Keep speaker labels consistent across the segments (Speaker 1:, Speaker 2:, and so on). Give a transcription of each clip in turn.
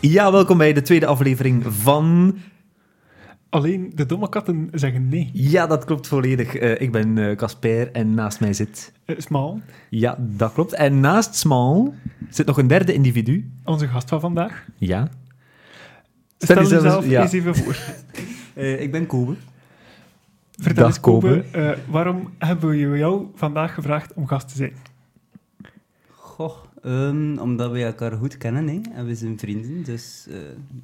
Speaker 1: Ja, welkom bij de tweede aflevering van...
Speaker 2: Alleen de domme katten zeggen nee.
Speaker 1: Ja, dat klopt volledig. Eh, ik ben eh, Casper en naast mij zit...
Speaker 2: Eh, Smal,
Speaker 1: Ja, dat klopt. En naast Small zit nog een derde individu.
Speaker 2: onze gast van vandaag.
Speaker 1: Ja.
Speaker 2: Stel,
Speaker 1: jezelf
Speaker 2: jezelf
Speaker 1: eens- ja.
Speaker 2: eens even voor.
Speaker 1: Eh, ik ben Kobe.
Speaker 2: Vertel
Speaker 1: Dag,
Speaker 2: eens, Kobe,
Speaker 1: Kobe.
Speaker 2: eh, waarom hebben we jou vandaag gevraagd om gast te zijn?
Speaker 3: Goh, ehm, omdat we elkaar goed kennen hè, en we zijn vrienden, dus eh,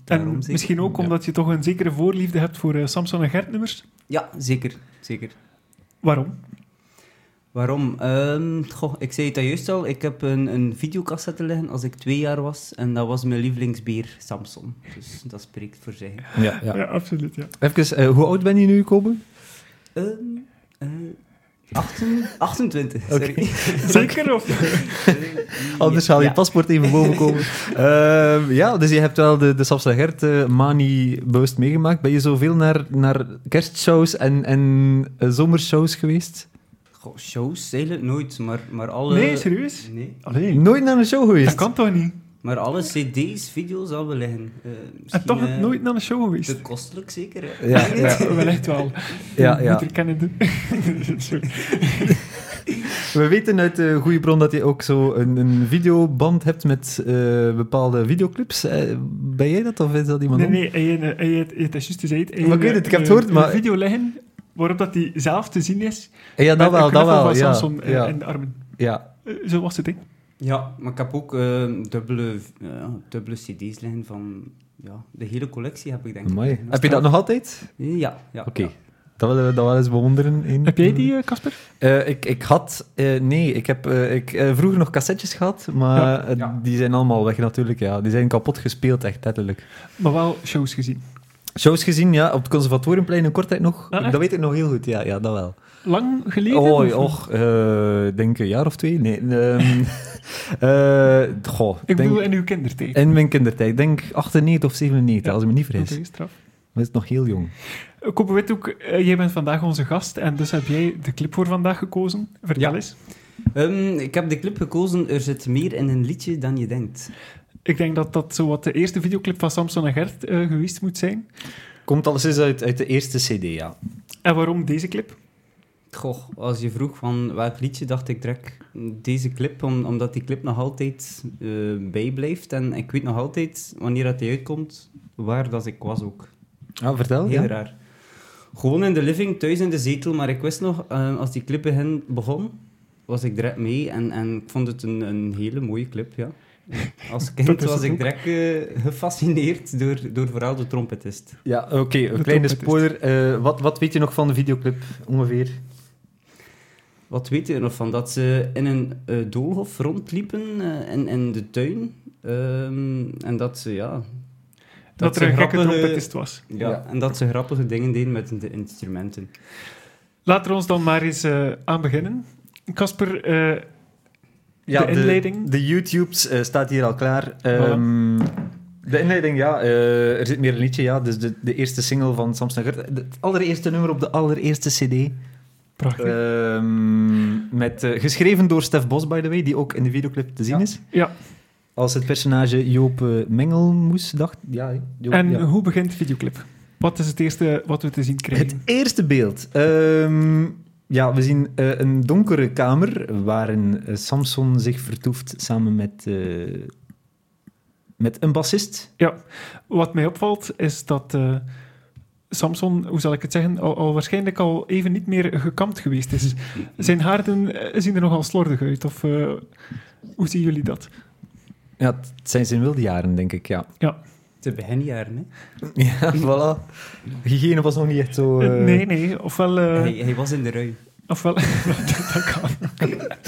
Speaker 3: daarom
Speaker 2: En
Speaker 3: zeker.
Speaker 2: misschien ook omdat je toch een zekere voorliefde hebt voor eh, Samson en Gert nummers.
Speaker 3: Ja, zeker, zeker.
Speaker 2: Waarom?
Speaker 3: Waarom? Ehm, goh, ik zei het al juist al, ik heb een, een videocassette liggen als ik twee jaar was en dat was mijn lievelingsbeer, Samson. Dus dat spreekt voor zich.
Speaker 1: Ja,
Speaker 2: Ja,
Speaker 1: ja.
Speaker 2: absoluut. Ja.
Speaker 1: Even, eh, hoe oud ben je nu, Kobe?
Speaker 3: Ehm, eh, 18 28, sorry.
Speaker 2: Zeker of?
Speaker 1: Anders haal je
Speaker 3: Ja.
Speaker 1: paspoort even boven komen. Ehm, ja, dus je hebt wel de, de Sapsa Gert eh, mani bewust meegemaakt. Ben je zoveel naar, naar kerstshows en, en eh, zomershows geweest?
Speaker 3: Goh, shows eigenlijk nooit, maar, maar alle...
Speaker 2: Nee, serieus?
Speaker 3: Nee,
Speaker 2: Allee,
Speaker 1: Nooit naar een show
Speaker 2: dat
Speaker 1: geweest?
Speaker 2: kan toch niet?
Speaker 3: maar alle cd's, video's al wel liggen. Eh,
Speaker 2: En
Speaker 3: misschien,
Speaker 2: toch
Speaker 3: eh,
Speaker 2: nooit naar een show geweest.
Speaker 3: Te kostelijk zeker, hè?
Speaker 1: Ja, ja.
Speaker 2: Wellicht wel.
Speaker 1: Ja, ja.
Speaker 2: Niet herkennende. Sorry.
Speaker 1: We weten uit eh goede bron dat je ook zo een, een videoband hebt met eh, bepaalde videoclips. Eh, ben jij dat of is dat iemand
Speaker 2: Nee,
Speaker 1: anders?
Speaker 2: nee, hij, hij, hij, het het is juist gezegd. Hij-
Speaker 1: Maar ik weet het, ik heb het
Speaker 2: eh,
Speaker 1: gehoord, maar-
Speaker 2: Een video leggen waarop dat hij zelf te zien is.
Speaker 1: Eh, Ja, dat
Speaker 2: met
Speaker 1: wel,
Speaker 2: een
Speaker 1: dat
Speaker 2: knuffel
Speaker 1: wel.
Speaker 2: van
Speaker 1: Ja,
Speaker 2: Samson eh,
Speaker 1: ja,
Speaker 2: in de armen.
Speaker 1: ja.
Speaker 2: Eh, Zo was het, hè.
Speaker 3: Ja, maar ik heb ook eh, dubbele, eh, dubbele cd's liggen van ja, de hele collectie heb ik denk ik.
Speaker 1: Mooi. Heb je dat nog altijd?
Speaker 3: Ja, ja.
Speaker 1: Oké. Dat willen we dat wel eens bewonderen. in-
Speaker 2: Heb jij die, eh, Casper?
Speaker 1: Eh, ik, ik had, eh, nee, ik heb eh, ik, eh, vroeger nog cassettes gehad, maar
Speaker 2: Ja,
Speaker 1: eh,
Speaker 3: ja.
Speaker 1: die zijn allemaal weg natuurlijk. Ja. Die zijn kapot gespeeld, echt letterlijk.
Speaker 2: Maar wel shows gezien.
Speaker 1: Shows gezien, ja, op het Conservatoriumplein in Kortrijk nog.
Speaker 2: Ah, echt?
Speaker 1: dat weet ik nog heel goed, ja, ja dat wel.
Speaker 2: Lang geleden?
Speaker 1: oh,
Speaker 2: of-
Speaker 1: och, eh, denk een jaar of twee? Nee. ehm, eh, goh,
Speaker 2: Ik
Speaker 1: denk,
Speaker 2: bedoel, in uw kindertijd.
Speaker 1: in mijn kindertijd. Ik denk 98 of 97,
Speaker 2: Ja.
Speaker 1: als ik Eh, me niet
Speaker 2: Dat
Speaker 1: vergis.
Speaker 2: is straf.
Speaker 1: Maar het is nog heel jong.
Speaker 2: Eh, Kopen weet ook, eh, jij bent vandaag onze gast en dus heb jij de clip voor vandaag gekozen. Vertel
Speaker 3: Ja.
Speaker 2: eens.
Speaker 3: Ehm, ik heb de clip gekozen, er zit meer in een liedje dan je denkt.
Speaker 2: Ik denk dat dat zo wat de eerste videoclip van Samson en Gert eh, geweest moet zijn.
Speaker 1: Komt alles eens uit, uit de eerste CD, ja.
Speaker 2: En waarom deze clip?
Speaker 3: Goh, als je vroeg van welk liedje, dacht ik direct deze clip, om- omdat die clip nog altijd eh, bijblijft. En ik weet nog altijd, wanneer dat die uitkomt, waar dat ik was ook.
Speaker 1: Ah, vertel.
Speaker 3: Heel
Speaker 1: ja.
Speaker 3: raar. Gewoon in de living, thuis in de zetel. Maar ik wist nog, eh, als die clip begin begon, was ik direct mee. En, en ik vond het een, een hele mooie clip, ja. Als
Speaker 2: Dat
Speaker 3: kind
Speaker 2: is
Speaker 3: was
Speaker 2: het
Speaker 3: ik
Speaker 2: ook.
Speaker 3: direct eh, gefascineerd door, door vooral de trompetist.
Speaker 1: Ja, oké, een kleine
Speaker 2: trompetist.
Speaker 1: spoiler. Eh, wat, wat weet je nog van de videoclip, ongeveer?
Speaker 3: Wat weet je er nog van? Dat ze in een eh, doolhof rondliepen eh, in, in de tuin. Ehm, en dat ze, ja...
Speaker 2: Dat, er een gekke
Speaker 3: grappige-
Speaker 2: trompetist was.
Speaker 3: Ja,
Speaker 1: Ja.
Speaker 3: en dat ze grappige dingen deden met de instrumenten.
Speaker 2: Laten we ons dan maar eens eh, aan beginnen. Casper, eh, De inleiding?
Speaker 1: De, YouTube's eh, staat hier al klaar.
Speaker 2: Voilà.
Speaker 1: Ehm, de inleiding, ja. eh, er zit meer een liedje, ja. Dus de, de eerste single van Samson Gert. Het allereerste nummer op de allereerste CD.
Speaker 2: prachtig.
Speaker 1: Eh, Ehm, met, eh, geschreven door Stef Bos, by the way, die ook in de videoclip te zien is.
Speaker 2: ja,
Speaker 1: Als het personage Joop eh, Mengelmoes dacht. Ja, hè, Joop,
Speaker 2: En
Speaker 1: ja.
Speaker 2: hoe begint de videoclip? Wat is het eerste wat we te zien krijgen?
Speaker 1: Het eerste beeld. Ehm, ja, we zien eh, een donkere kamer waarin eh, Samson zich vertoeft samen met, eh, met een bassist.
Speaker 2: Wat mij opvalt is dat eh, Samson, hoe zal ik het zeggen, al, al waarschijnlijk al even niet meer gekamd geweest is. Zijn haarden eh, zien er nogal slordig uit. Of eh, hoe zien jullie dat?
Speaker 1: Ja, het zijn zijn wilde jaren, denk ik, ja.
Speaker 3: Te beginjaren, hè.
Speaker 1: Ja, voilà. Hygiëne was nog niet echt zo... eh,
Speaker 2: nee, nee. Ofwel. eh,
Speaker 3: hij, hij was in de rui.
Speaker 2: ofwel dat, dat kan.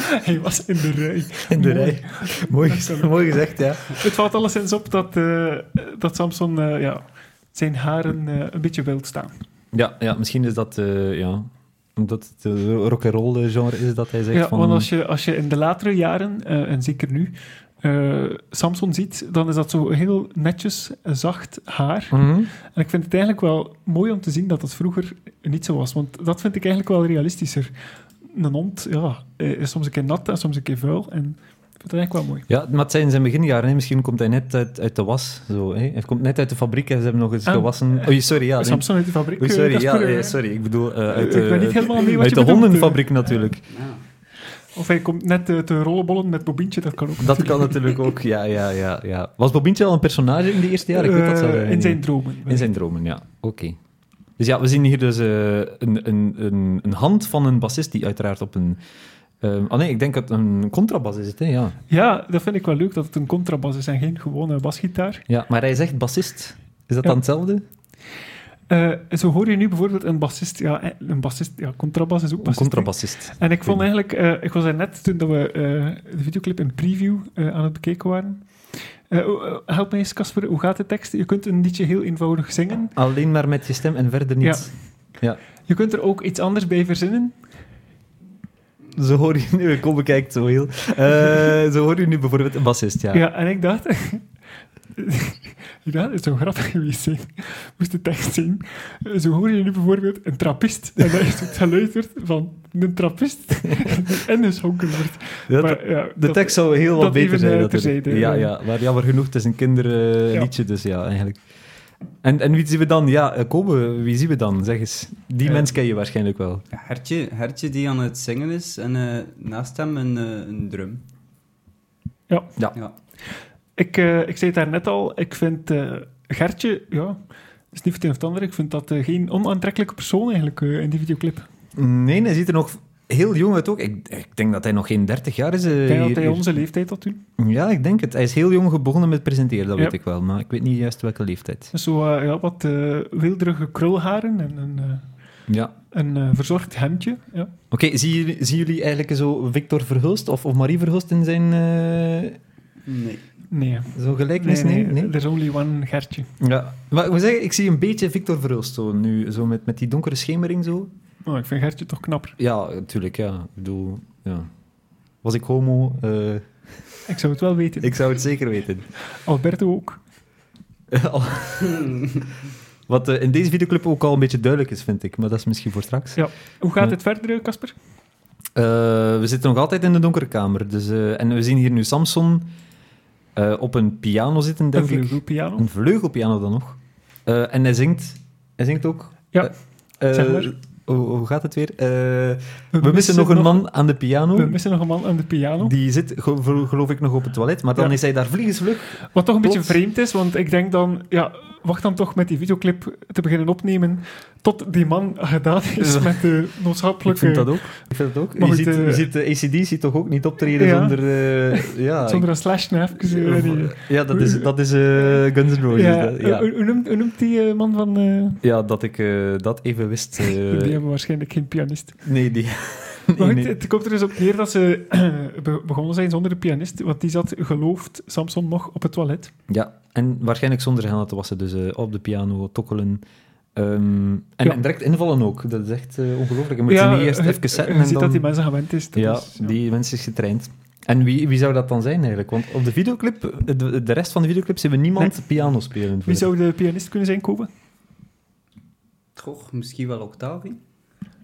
Speaker 2: Hij was in de rij.
Speaker 1: In de
Speaker 2: Mooi.
Speaker 1: rij. Mooi, gez- mooi gezegd, ja.
Speaker 2: Het valt alleszins op dat, eh, dat Samson eh, ja, zijn haren eh, een beetje wild staan.
Speaker 1: Ja, ja misschien is dat... eh, ja, omdat het een rock'n'roll eh, genre is dat hij zegt
Speaker 2: Ja,
Speaker 1: van...
Speaker 2: want als je, als je in de latere jaren, eh, en zeker nu, eh, Samson ziet, dan is dat zo heel netjes, eh, zacht haar.
Speaker 1: Mhm.
Speaker 2: En ik vind het eigenlijk wel mooi om te zien dat dat vroeger niet zo was. Want dat vind ik eigenlijk wel realistischer. Een hond ja, eh, is soms een keer nat en soms een keer vuil. En Ik vond dat echt wel mooi.
Speaker 1: Ja, maar het zijn zijn beginjaren. Hè? Misschien komt hij net uit, uit de was. Zo, hè? Hij komt net uit de fabriek en ze hebben nog eens
Speaker 2: Ah.
Speaker 1: gewassen. Oei, sorry. Ja, nee.
Speaker 2: Samsung uit de fabriek.
Speaker 1: Oei,
Speaker 2: eh,
Speaker 1: sorry, ja,
Speaker 2: Casper, eh,
Speaker 1: eh, sorry. Ik bedoel, eh,
Speaker 2: eh,
Speaker 1: uit
Speaker 2: ik ben niet
Speaker 1: de,
Speaker 2: helemaal mee wat
Speaker 1: uit
Speaker 2: je
Speaker 1: de
Speaker 2: bedoelt,
Speaker 1: hondenfabriek natuurlijk.
Speaker 3: Ja.
Speaker 2: eh. Of hij komt net eh, te rollenbollen met Bobientje, dat kan ook.
Speaker 1: Dat kan natuurlijk ook, ja, ja, ja, ja. Was Bobientje al een personage in de eerste jaren? Ik weet dat
Speaker 2: Eh,
Speaker 1: zelf
Speaker 2: in
Speaker 1: niet.
Speaker 2: zijn dromen.
Speaker 1: In zijn dromen, ja. Oké. Dus ja, we zien hier dus eh, een, een, een, een hand van een bassist die uiteraard op een... ehm oh nee, ik denk dat het een contrabas is, het, hè? Ja.
Speaker 2: Ja, dat vind ik wel leuk dat het een contrabas is en geen gewone basgitaar.
Speaker 1: ja. Maar hij zegt bassist. Is dat
Speaker 2: Ja.
Speaker 1: dan hetzelfde?
Speaker 2: Eh, zo hoor je nu bijvoorbeeld een bassist. Ja, eh, een bassist, ja, contrabas is ook
Speaker 1: Een
Speaker 2: bassist.
Speaker 1: contrabassist.
Speaker 2: En ik vond eigenlijk, eh, ik was er net toen dat we eh, de videoclip in preview eh, aan het bekeken waren. Eh, oh, eh, help mij eens, Casper, hoe gaat de tekst? Je kunt een liedje heel eenvoudig zingen.
Speaker 1: Alleen maar met je stem en verder niet.
Speaker 2: Je kunt er ook iets anders bij verzinnen.
Speaker 1: Zo hoor je nu, kom bekijk zo heel. Eh, zo hoor je nu bijvoorbeeld een bassist, ja.
Speaker 2: Ja, en ik dacht... ik dacht, het zou grappig geweest zijn. Moest de tekst zien. Eh, Zo hoor je nu bijvoorbeeld een trappist. En dat is het geluid wordt van een trappist die in is honken wordt.
Speaker 1: Dat-
Speaker 2: Maar ja,
Speaker 1: de
Speaker 2: dat-
Speaker 1: tekst zou heel wat
Speaker 2: dat
Speaker 1: beter
Speaker 2: even,
Speaker 1: zijn.
Speaker 2: eh,
Speaker 1: natuurlijk.
Speaker 2: terzijde,
Speaker 1: ja,
Speaker 2: ja.
Speaker 1: ja, maar jammer genoeg, het is een
Speaker 2: Ja.
Speaker 1: kinderliedje, dus ja, eigenlijk. En, en wie zien we dan? Ja, eh, Kobe, wie zien we dan? Zeg eens. Die
Speaker 3: Eh.
Speaker 1: mens ken je waarschijnlijk wel.
Speaker 3: Ja, Hertje, Hertje die aan het zingen is en eh, naast hem een, eh, een drum.
Speaker 2: Ja.
Speaker 1: Ja.
Speaker 2: Ik, eh, ik zei het daarnet al, ik vind eh, Gertje, ja, is niet het een of het ander, ik vind dat eh, geen onaantrekkelijke persoon eigenlijk eh, in die videoclip.
Speaker 1: Nee, hij ziet er nog heel jong uit ook. Ik, ik denk dat hij nog geen 30 jaar is. eh,
Speaker 2: Ik denk dat
Speaker 1: hier-
Speaker 2: hij
Speaker 1: hier-
Speaker 2: onze leeftijd had toen.
Speaker 1: Ja, ik denk het. Hij is heel jong begonnen met presenteren, dat
Speaker 2: Ja.
Speaker 1: weet ik wel. Maar ik weet niet juist welke leeftijd.
Speaker 2: Dus zo eh, ja, wat eh, wilderige krulharen en een, eh,
Speaker 1: Ja.
Speaker 2: een eh, verzorgd hemdje. Ja.
Speaker 1: Oké, zien, jullie- zien jullie eigenlijk zo Victor Verhulst of, of Marie Verhulst in zijn eh,
Speaker 3: Nee.
Speaker 2: Nee,
Speaker 1: zo'n gelijkenis? Nee, nee,
Speaker 2: There's only one Gertje.
Speaker 1: Ja. Maar ik moet zeggen, ik zie een beetje Victor Verhulst zo nu, zo met, met die donkere schemering zo.
Speaker 2: Oh, ik vind Gertje toch knapper.
Speaker 1: Ja, natuurlijk, ja. Ik bedoel, ja. Was ik homo? Eh,
Speaker 2: Ik zou het wel weten.
Speaker 1: ik zou het zeker weten.
Speaker 2: Alberto ook.
Speaker 1: Al- Wat eh, in deze videoclip ook al een beetje duidelijk is, vind ik. Maar dat is misschien voor straks.
Speaker 2: Hoe gaat
Speaker 1: Nee.
Speaker 2: het verder, eh, Casper?
Speaker 1: Eh, we zitten nog altijd in de donkere kamer. Dus, eh, en we zien hier nu Samson eh, op een piano zitten,
Speaker 2: Een
Speaker 1: denk ik.
Speaker 2: vleugelpiano.
Speaker 1: Een vleugelpiano dan nog. Eh, en hij zingt. Hij zingt ook.
Speaker 2: Ja,
Speaker 1: Eh,
Speaker 2: zeg maar.
Speaker 1: eh, hoe, hoe gaat het weer? Eh, we, missen nog een man aan de piano.
Speaker 2: We missen nog een man aan de piano.
Speaker 1: Die zit, ge- gel- geloof ik, nog op het toilet. Maar dan
Speaker 2: Ja.
Speaker 1: is hij daar vliegensvlug.
Speaker 2: Wat toch een
Speaker 1: Plots.
Speaker 2: beetje vreemd is, want ik denk dan, ja, wacht dan toch met die videoclip te beginnen opnemen tot die man gedaan is
Speaker 1: Ja.
Speaker 2: met de
Speaker 1: Ik
Speaker 2: noodzakelijke...
Speaker 1: vind dat ook. Ik vind dat ook.
Speaker 2: Maar
Speaker 1: Je
Speaker 2: goed,
Speaker 1: ziet,
Speaker 2: eh,
Speaker 1: je ziet de ACDC toch ook niet optreden
Speaker 2: Ja.
Speaker 1: zonder... eh, ja,
Speaker 2: Zonder een slash na even... eh, die-
Speaker 1: ik- ja, dat is, dat is eh, Guns N' Roses.
Speaker 2: ja,
Speaker 1: dat- Ja,
Speaker 2: Hoe, hoe noemt, hoe noemt die eh, man van... eh,
Speaker 1: ja, dat ik eh, dat even wist. eh,
Speaker 2: die hebben waarschijnlijk geen pianist.
Speaker 1: nee, die...
Speaker 2: Maar
Speaker 1: nee,
Speaker 2: goed,
Speaker 1: nee.
Speaker 2: het komt er dus op neer dat ze be- begonnen zijn zonder de pianist, want die zat, gelooft Samson, nog op het toilet.
Speaker 1: Ja, en waarschijnlijk zonder handen te wassen, dus eh, op de piano tokkelen. Ehm, en,
Speaker 2: Ja.
Speaker 1: en direct invallen ook, dat is echt eh, ongelooflijk. Je moet
Speaker 2: Ja,
Speaker 1: ze niet eerst
Speaker 2: eh,
Speaker 1: even
Speaker 2: Je
Speaker 1: zetten. en
Speaker 2: ziet
Speaker 1: dan...
Speaker 2: dat die mensen gewend is. dat
Speaker 1: ja,
Speaker 2: is- ja.
Speaker 1: die mensen is getraind. En wie, wie zou dat dan zijn eigenlijk? Want op de videoclip, de, de rest van de videoclip, zien we niemand piano spelen.
Speaker 2: Wie zou de pianist kunnen zijn, Kobe?
Speaker 3: Toch, misschien wel Octavie?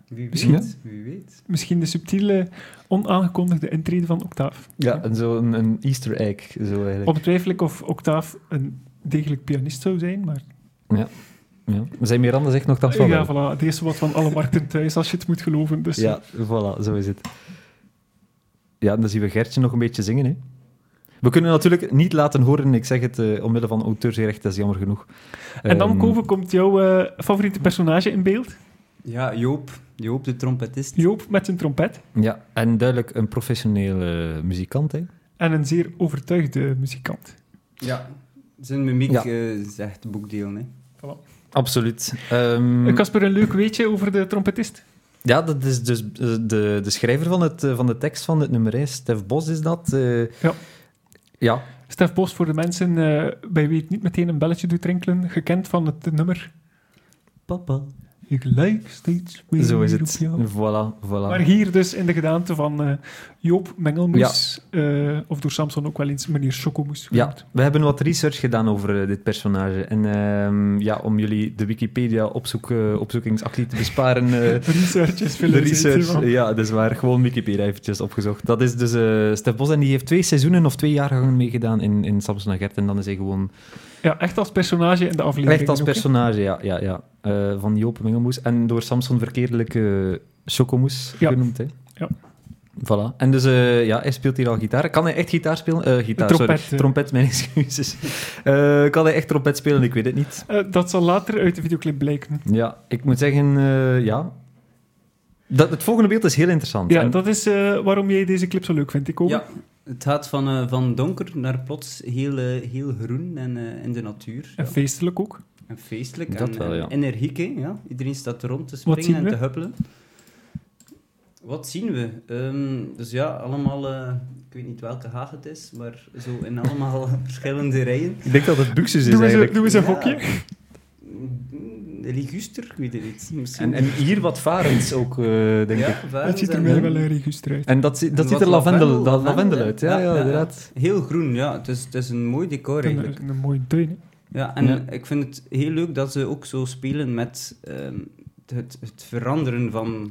Speaker 3: Wie weet,
Speaker 1: Misschien,
Speaker 3: wie weet.
Speaker 2: Misschien de subtiele, onaangekondigde intrede van Octaaf.
Speaker 1: Ja, en zo een, een easter egg. Zo eigenlijk.
Speaker 2: Ongetwijfeld ik of Octaaf een degelijk pianist zou zijn, maar
Speaker 1: Ja. Zijn Miranda zegt nog dat van
Speaker 2: ja,
Speaker 1: wel.
Speaker 2: voilà, het eerste wat van alle markten thuis, als je het moet geloven. Dus
Speaker 1: Ja, voilà, zo is het. Ja, en dan zien we Gertje nog een beetje zingen, hè. We kunnen natuurlijk niet laten horen, ik zeg het eh, omwille van auteursrecht, dat is jammer genoeg.
Speaker 2: En dan,
Speaker 1: Ehm,
Speaker 2: Koven, komt jouw eh, favoriete personage in beeld.
Speaker 3: Ja, Joop. Joop, de trompetist.
Speaker 2: Joop met zijn trompet.
Speaker 1: Ja, en duidelijk een professionele muzikant, hè.
Speaker 2: En een zeer overtuigde muzikant.
Speaker 3: Ja. Zijn mimiek
Speaker 1: Ja.
Speaker 3: eh, is echt boekdeel, hè.
Speaker 1: Absoluut. Ehm,
Speaker 2: Eh, Casper, een leuk weetje over de trompetist.
Speaker 1: ja, dat is dus eh, de, de schrijver van, het, eh, van de tekst van het nummer, hè. Stef Bos is dat. eh.
Speaker 2: Ja.
Speaker 1: Ja,
Speaker 2: Stef Bos, voor de mensen eh, bij wie het niet meteen een belletje doet rinkelen, gekend van het nummer.
Speaker 3: Papa.
Speaker 2: Ik lijk steeds meer
Speaker 1: Zo is
Speaker 2: op
Speaker 1: het.
Speaker 2: jou.
Speaker 1: Voilà, voilà.
Speaker 2: Maar hier dus in de gedaante van eh, Joop Mengelmoes, eh, of door Samson ook wel eens meneer Chocomoes
Speaker 1: Ja,
Speaker 2: genoemd.
Speaker 1: we hebben wat research gedaan over eh, dit personage. En ehm, ja, om jullie de Wikipedia-opzoekingsactie te besparen... eh,
Speaker 2: Research is veel
Speaker 1: de
Speaker 2: leuker,
Speaker 1: research,
Speaker 2: man.
Speaker 1: ja, dat is waar. Gewoon Wikipedia eventjes opgezocht. Dat is dus eh Stef Bos en die heeft twee seizoenen of twee jaargangen meegedaan in, in Samson en Gert. En dan is hij gewoon
Speaker 2: Ja, echt als personage in de aflevering.
Speaker 1: Echt als
Speaker 2: ook, hè.
Speaker 1: personage, ja. ja, ja. Eh, van Joop Mengelmoes. En door Samson verkeerdelijk eh Chocomoes
Speaker 2: Ja.
Speaker 1: genoemd, hè.
Speaker 2: Ja.
Speaker 1: Voilà. En dus, eh, ja, hij speelt hier al gitaar. Kan hij echt gitaar spelen? Eh, gitaar,
Speaker 2: Trompet,
Speaker 1: sorry.
Speaker 2: eh.
Speaker 1: Trompet, mijn excuses. Eh, kan hij echt trompet spelen? Ik weet het niet.
Speaker 2: Eh, dat zal later uit de videoclip blijken.
Speaker 1: Ja, ik moet zeggen, eh, ja... Dat, het volgende beeld is heel interessant.
Speaker 2: Ja,
Speaker 1: En-
Speaker 2: dat is eh, waarom jij deze clip zo leuk vindt. Ik ook.
Speaker 3: Ja, het gaat van, eh, van donker naar plots heel, eh, heel groen en eh, in de natuur.
Speaker 2: En feestelijk ook.
Speaker 3: En feestelijk
Speaker 1: Dat
Speaker 3: en,
Speaker 1: wel,
Speaker 3: en
Speaker 1: ja.
Speaker 3: energiek. hè, Ja? Iedereen staat rond te
Speaker 2: zien
Speaker 3: springen en
Speaker 2: we?
Speaker 3: te huppelen. Wat zien we? Ehm, dus ja, allemaal, eh, ik weet niet welke haag het is, maar zo in allemaal verschillende rijen.
Speaker 1: Ik denk dat het buxus Dus is,
Speaker 2: Doe eens, een-
Speaker 1: eigenlijk.
Speaker 2: doe eens een
Speaker 3: Ja.
Speaker 2: hokje.
Speaker 3: Mm, Liguster, ik weet het niet. Misschien.
Speaker 1: En, en hier wat varens ook, eh, denk ik.
Speaker 3: ja, varens
Speaker 2: Dat ziet er
Speaker 3: en-
Speaker 2: mij wel een register uit.
Speaker 1: En dat, zie- dat
Speaker 3: Wat
Speaker 1: ziet er lavendel,
Speaker 3: lavendel,
Speaker 1: lavendel
Speaker 3: lavendel,
Speaker 1: uit.
Speaker 3: ja.
Speaker 1: Ja, ja,
Speaker 3: Ja, ja.
Speaker 1: inderdaad.
Speaker 3: Heel groen, ja. Het is, het is een mooi decor
Speaker 2: En
Speaker 3: eigenlijk.
Speaker 2: een, een mooie tuin. hè.
Speaker 3: Ja, en
Speaker 1: Ja.
Speaker 3: ik vind het heel leuk dat ze ook zo spelen met ehm, het, het veranderen van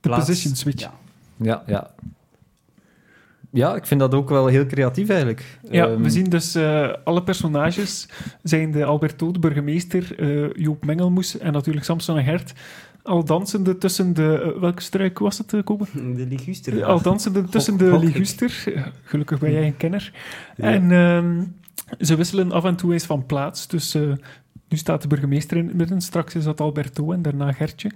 Speaker 2: De
Speaker 3: plaats.
Speaker 2: position switch.
Speaker 3: Ja.
Speaker 1: Ja, ja. Ja, ik vind dat ook wel heel creatief eigenlijk.
Speaker 2: Ja,
Speaker 1: Ehm,
Speaker 2: we zien dus eh, alle personages zijn de Alberto, de burgemeester, eh, Joop Mengelmoes en natuurlijk Samson en Gert. Al dansende tussen de... eh, welke struik was het, eh, Kobe?
Speaker 3: De liguster. ja.
Speaker 2: Al dansende tussen de
Speaker 3: gok ik.
Speaker 2: liguster. Eh, Gelukkig ben jij een kenner.
Speaker 1: Ja.
Speaker 2: En ehm, ze wisselen af en toe eens van plaats. Dus eh, nu staat de burgemeester in het midden. Straks is dat Alberto en daarna Gertje.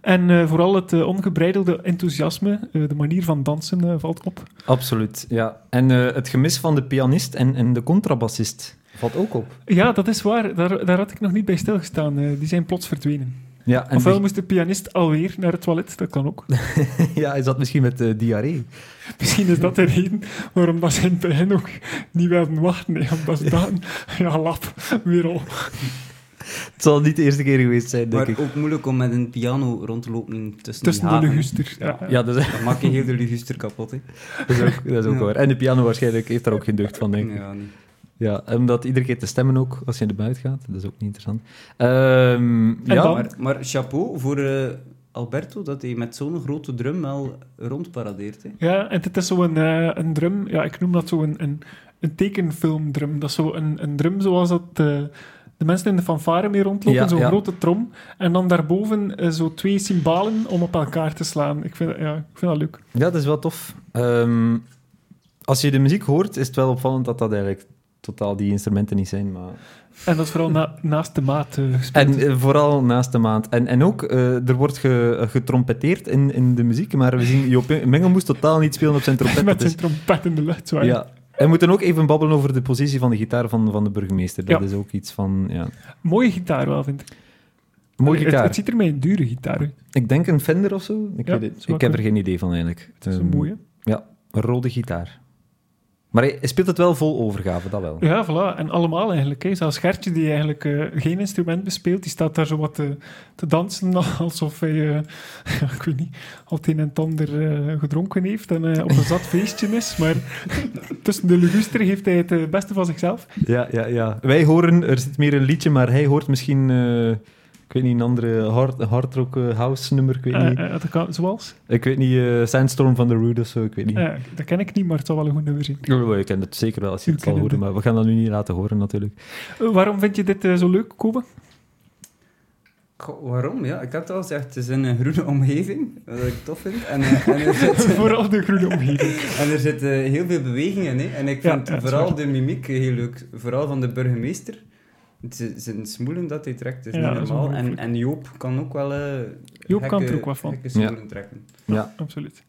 Speaker 2: En eh, vooral het eh, ongebreidelde enthousiasme, eh, de manier van dansen eh, valt op.
Speaker 1: Absoluut, ja. En eh, het gemis van de pianist en, en de contrabassist valt ook op.
Speaker 2: Ja, dat is waar. Daar, daar had ik nog niet bij stilgestaan. Eh, die zijn plots verdwenen.
Speaker 1: Ja, en
Speaker 2: Ofwel
Speaker 1: die-
Speaker 2: moest de pianist alweer naar het toilet, dat kan ook.
Speaker 1: ja, is dat misschien met eh, diarree?
Speaker 2: Misschien is dat de reden waarom dat ze in het begin ook niet wilden wachten. Nee, omdat ze dachten, ja, lap, weer al.
Speaker 1: Het zal niet de eerste keer geweest zijn, denk
Speaker 3: Maar
Speaker 1: ik.
Speaker 3: ook moeilijk om met een piano rond te lopen tussen,
Speaker 2: Tussen
Speaker 3: die
Speaker 2: de
Speaker 3: hagen.
Speaker 2: luguster. Ja.
Speaker 1: Ja, dat is,
Speaker 3: Dan maak je heel de liguster kapot, hè.
Speaker 1: dat is ook, dat is ook
Speaker 3: Ja.
Speaker 1: waar. En de piano waarschijnlijk heeft daar ook geen deugd van, denk ik.
Speaker 3: Ja, nee.
Speaker 1: Ja, omdat iedere keer te stemmen ook, als je naar buiten gaat. Dat is ook niet interessant. Ehm, ja,
Speaker 2: dan?
Speaker 1: maar-
Speaker 3: Maar, maar chapeau voor eh, Alberto, dat hij met zo'n grote drum wel rondparadeert, hè.
Speaker 2: Ja, en het is zo'n eh een drum, ja, ik noem dat zo'n een, een tekenfilmdrum. Dat is zo een, een drum zoals dat eh, de mensen in de fanfare mee rondlopen,
Speaker 1: Ja,
Speaker 2: zo'n
Speaker 1: ja.
Speaker 2: grote trom. En dan daarboven eh, zo twee cymbalen om op elkaar te slaan. Ik vind, dat- ja, ik vind dat leuk.
Speaker 1: Ja, dat is wel tof. Ehm, als je de muziek hoort, is het wel opvallend dat dat eigenlijk totaal die instrumenten niet zijn. Maar...
Speaker 2: En dat is vooral na- naast de maat eh, gespeeld.
Speaker 1: En eh, vooral naast de maand. En, en ook, eh, er wordt ge, getrompeteerd in, in de muziek, maar we zien Joop moest totaal niet spelen op zijn trompet.
Speaker 2: Met
Speaker 1: Dat
Speaker 2: zijn
Speaker 1: is-
Speaker 2: trompet in de lucht. Zo, hè.
Speaker 1: ja. En we moeten ook even babbelen over de positie van de gitaar van, van de burgemeester. Dat
Speaker 2: Ja.
Speaker 1: is ook iets van... Ja.
Speaker 2: Mooie gitaar wel, vind ik.
Speaker 1: Mooie
Speaker 2: Het- Het,
Speaker 1: gitaar.
Speaker 2: ziet er mij een dure gitaar uit.
Speaker 1: Ik denk een Fender of zo. Ik,
Speaker 2: Ja,
Speaker 1: weet het-
Speaker 2: zou
Speaker 1: ik heb er
Speaker 2: kunnen.
Speaker 1: geen idee van eigenlijk.
Speaker 2: Het is een
Speaker 1: Ehm,
Speaker 2: mooie.
Speaker 1: een rode gitaar. Maar hij hij speelt het wel vol overgave, dat wel.
Speaker 2: Ja, voilà. En allemaal eigenlijk. Hè. Zelfs Gertje, die eigenlijk eh, geen instrument bespeelt, die staat daar zo wat te, te dansen, alsof hij, eh, ik weet niet, al het een en het ander eh, gedronken heeft en eh, op een zat feestje is. Maar tussen de luguster heeft hij het eh, beste van zichzelf.
Speaker 1: Ja, ja, ja. Wij horen, er zit meer een liedje, maar hij hoort misschien, eh, ik weet niet, een andere hard, hardrock eh, house nummer, ik weet
Speaker 2: Eh,
Speaker 1: niet.
Speaker 2: eh, dat kan, zoals?
Speaker 1: Ik weet niet, eh, Sandstorm van the Rood of zo, ik weet niet.
Speaker 2: Eh, dat ken ik niet, maar het zal wel een goed nummer zijn.
Speaker 1: Oh, wel, je kent het zeker wel als je
Speaker 2: Ik
Speaker 1: het zal
Speaker 2: ken
Speaker 1: horen,
Speaker 2: het.
Speaker 1: maar we gaan dat nu niet laten horen natuurlijk.
Speaker 2: Eh, waarom vind je dit eh, zo leuk, Kobe?
Speaker 3: Goh, waarom? Ja, ik had het al gezegd, het is in een groene omgeving, wat ik tof vind. En, eh, en er zit-
Speaker 2: Vooral de groene omgeving.
Speaker 3: En er zitten heel veel bewegingen in. En ik
Speaker 2: Ja,
Speaker 3: vind
Speaker 2: ja, dat is
Speaker 3: vooral
Speaker 2: waar.
Speaker 3: de mimiek heel leuk. Vooral van de burgemeester. Het is is een smoelen dat hij trekt, dat is
Speaker 2: Ja,
Speaker 3: niet
Speaker 2: dat is
Speaker 3: normaal. en,
Speaker 2: ongelooflijk.
Speaker 3: en Joop kan ook wel... eh,
Speaker 2: Joop kan
Speaker 3: gekke-
Speaker 2: er ook wat van.
Speaker 3: gekke smoelen trekken.
Speaker 1: Ja.
Speaker 2: Absoluut.